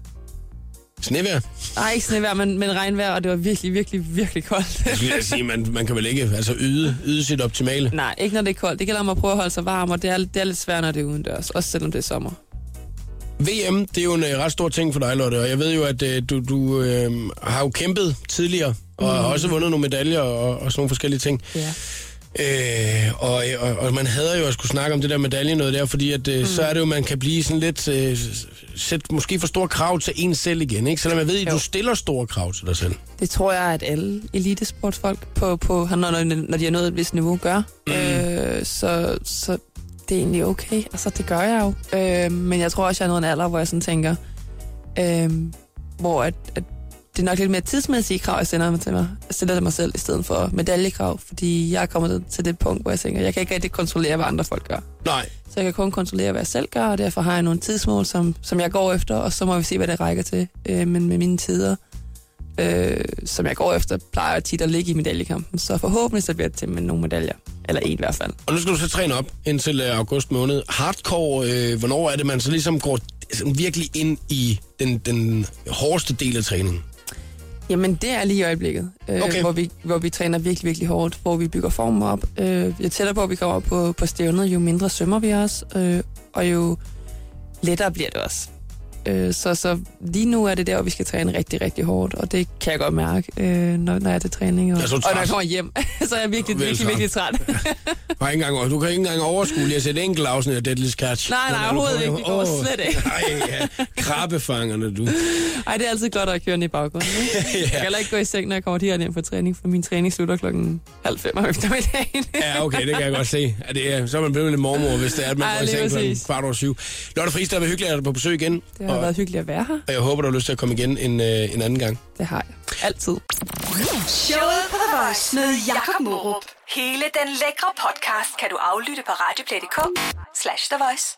Speaker 1: Snevejr?
Speaker 2: Nej, ikke snevejr, men, men regnvejr, og det var virkelig, virkelig, virkelig koldt.
Speaker 1: Jeg skulle lige sige, man, man kan vel ikke altså yde, yde sit optimale.
Speaker 2: Nej, ikke når det er koldt. Det gælder om at prøve at holde sig varm, og det er, det er lidt svært, når det er udendørs, også selvom det er sommer.
Speaker 1: VM, det er jo en øh, ret stor ting for dig, Lotte, og jeg ved jo, at øh, du, du øh, har jo kæmpet tidligere, og har også vundet nogle medaljer og, og sådan nogle forskellige ting.
Speaker 2: Mhm. Ja.
Speaker 1: Øh, og, og, og man hader jo at skulle snakke om det der medalje noget der, fordi at, øh, mm.
Speaker 2: Mhm.
Speaker 1: så er det jo, man kan blive sådan lidt, øh, s- sæt måske for store krav til en selv igen, ikke? Selvom jeg ved, at du
Speaker 2: Jo.
Speaker 1: stiller store krav til dig selv.
Speaker 2: Det tror jeg, at alle elitesportfolk, på, på, når, når, når de har nået et vist niveau, gør. Mm. Øh, så, så det er egentlig okay. Altså, det gør jeg jo. Øh, men jeg tror også, jeg er nået en alder, hvor jeg sådan tænker, øh, hvor at, at det er nok lidt mere tidsmæssige krav, jeg sender mig til mig. Jeg stiller til mig selv i stedet for medaljekrav, fordi jeg er kommet til det punkt, hvor jeg tænker, jeg kan ikke rigtig kontrollere, hvad andre folk gør.
Speaker 1: Nej,
Speaker 2: Så jeg kan kun kontrollere, hvad jeg selv gør, og derfor har jeg nogle tidsmål, som, som jeg går efter, og så må vi se, hvad det rækker til. Øh, men med mine tider, øh, som jeg går efter, plejer jeg tit at ligge i medaljekampen. Så forhåbentlig så bliver det til med nogle medaljer. Eller en i hvert fald.
Speaker 1: og nu skal du så træne op indtil øh, august måned. Hardcore, øh, hvornår er det, man så ligesom går sådan virkelig ind i den, den hårdeste del af træningen?
Speaker 2: Jamen, det er lige i øjeblikket, øh,
Speaker 1: Okay.
Speaker 2: okay. hvor, vi, hvor vi træner virkelig, virkelig hårdt, hvor vi bygger formen op. Øh, jo tættere på, vi kommer op på, på stævnet, jo mindre sømmer vi os, øh, og jo lettere bliver det også. Øh, så, så lige nu er det der, hvor vi skal træne rigtig, rigtig hårdt, og det kan jeg godt mærke, øh, når, når jeg er til træning. Og,
Speaker 1: Ja, så er du
Speaker 2: og når
Speaker 1: træt.
Speaker 2: jeg kommer hjem, så er jeg virkelig,
Speaker 1: Vel
Speaker 2: virkelig, virkelig træt.
Speaker 1: Bare ikke engang, du kan ikke engang overskue lige at sætte enkelt afsnit af Deadly Catch.
Speaker 2: Nej, nej,
Speaker 1: Når du
Speaker 2: overhovedet ikke.
Speaker 1: kommer
Speaker 2: Det
Speaker 1: hjem.
Speaker 2: går
Speaker 1: Åh,
Speaker 2: slet ikke.
Speaker 1: Nej, ja. krabbefangerne, du.
Speaker 2: Ej, det er altid godt at have kørende i baggrunden. Ikke? Jeg kan heller ikke gå i seng, når jeg kommer direkte hjem fra træning, for min træning slutter klokken halv fem om eftermiddagen.
Speaker 1: Ja, okay, det kan jeg godt se. Ja, det er, så er man blevet lidt mormor, hvis det er, at man
Speaker 2: Ej,
Speaker 1: går i
Speaker 2: lige
Speaker 1: seng klokken
Speaker 2: præcis.
Speaker 1: kvart over syv. Lotte Friis, der var hyggeligt at have dig på besøg igen.
Speaker 2: Det har
Speaker 1: og,
Speaker 2: været hyggeligt at være her.
Speaker 1: og jeg håber, du har lyst til at komme igen en, øh, en anden gang.
Speaker 2: Det har jeg. Altid.
Speaker 7: Showet på The Voice med Jakob Morup. Hele den lækre podcast kan du aflytte på radioplay.dk slash The Voice.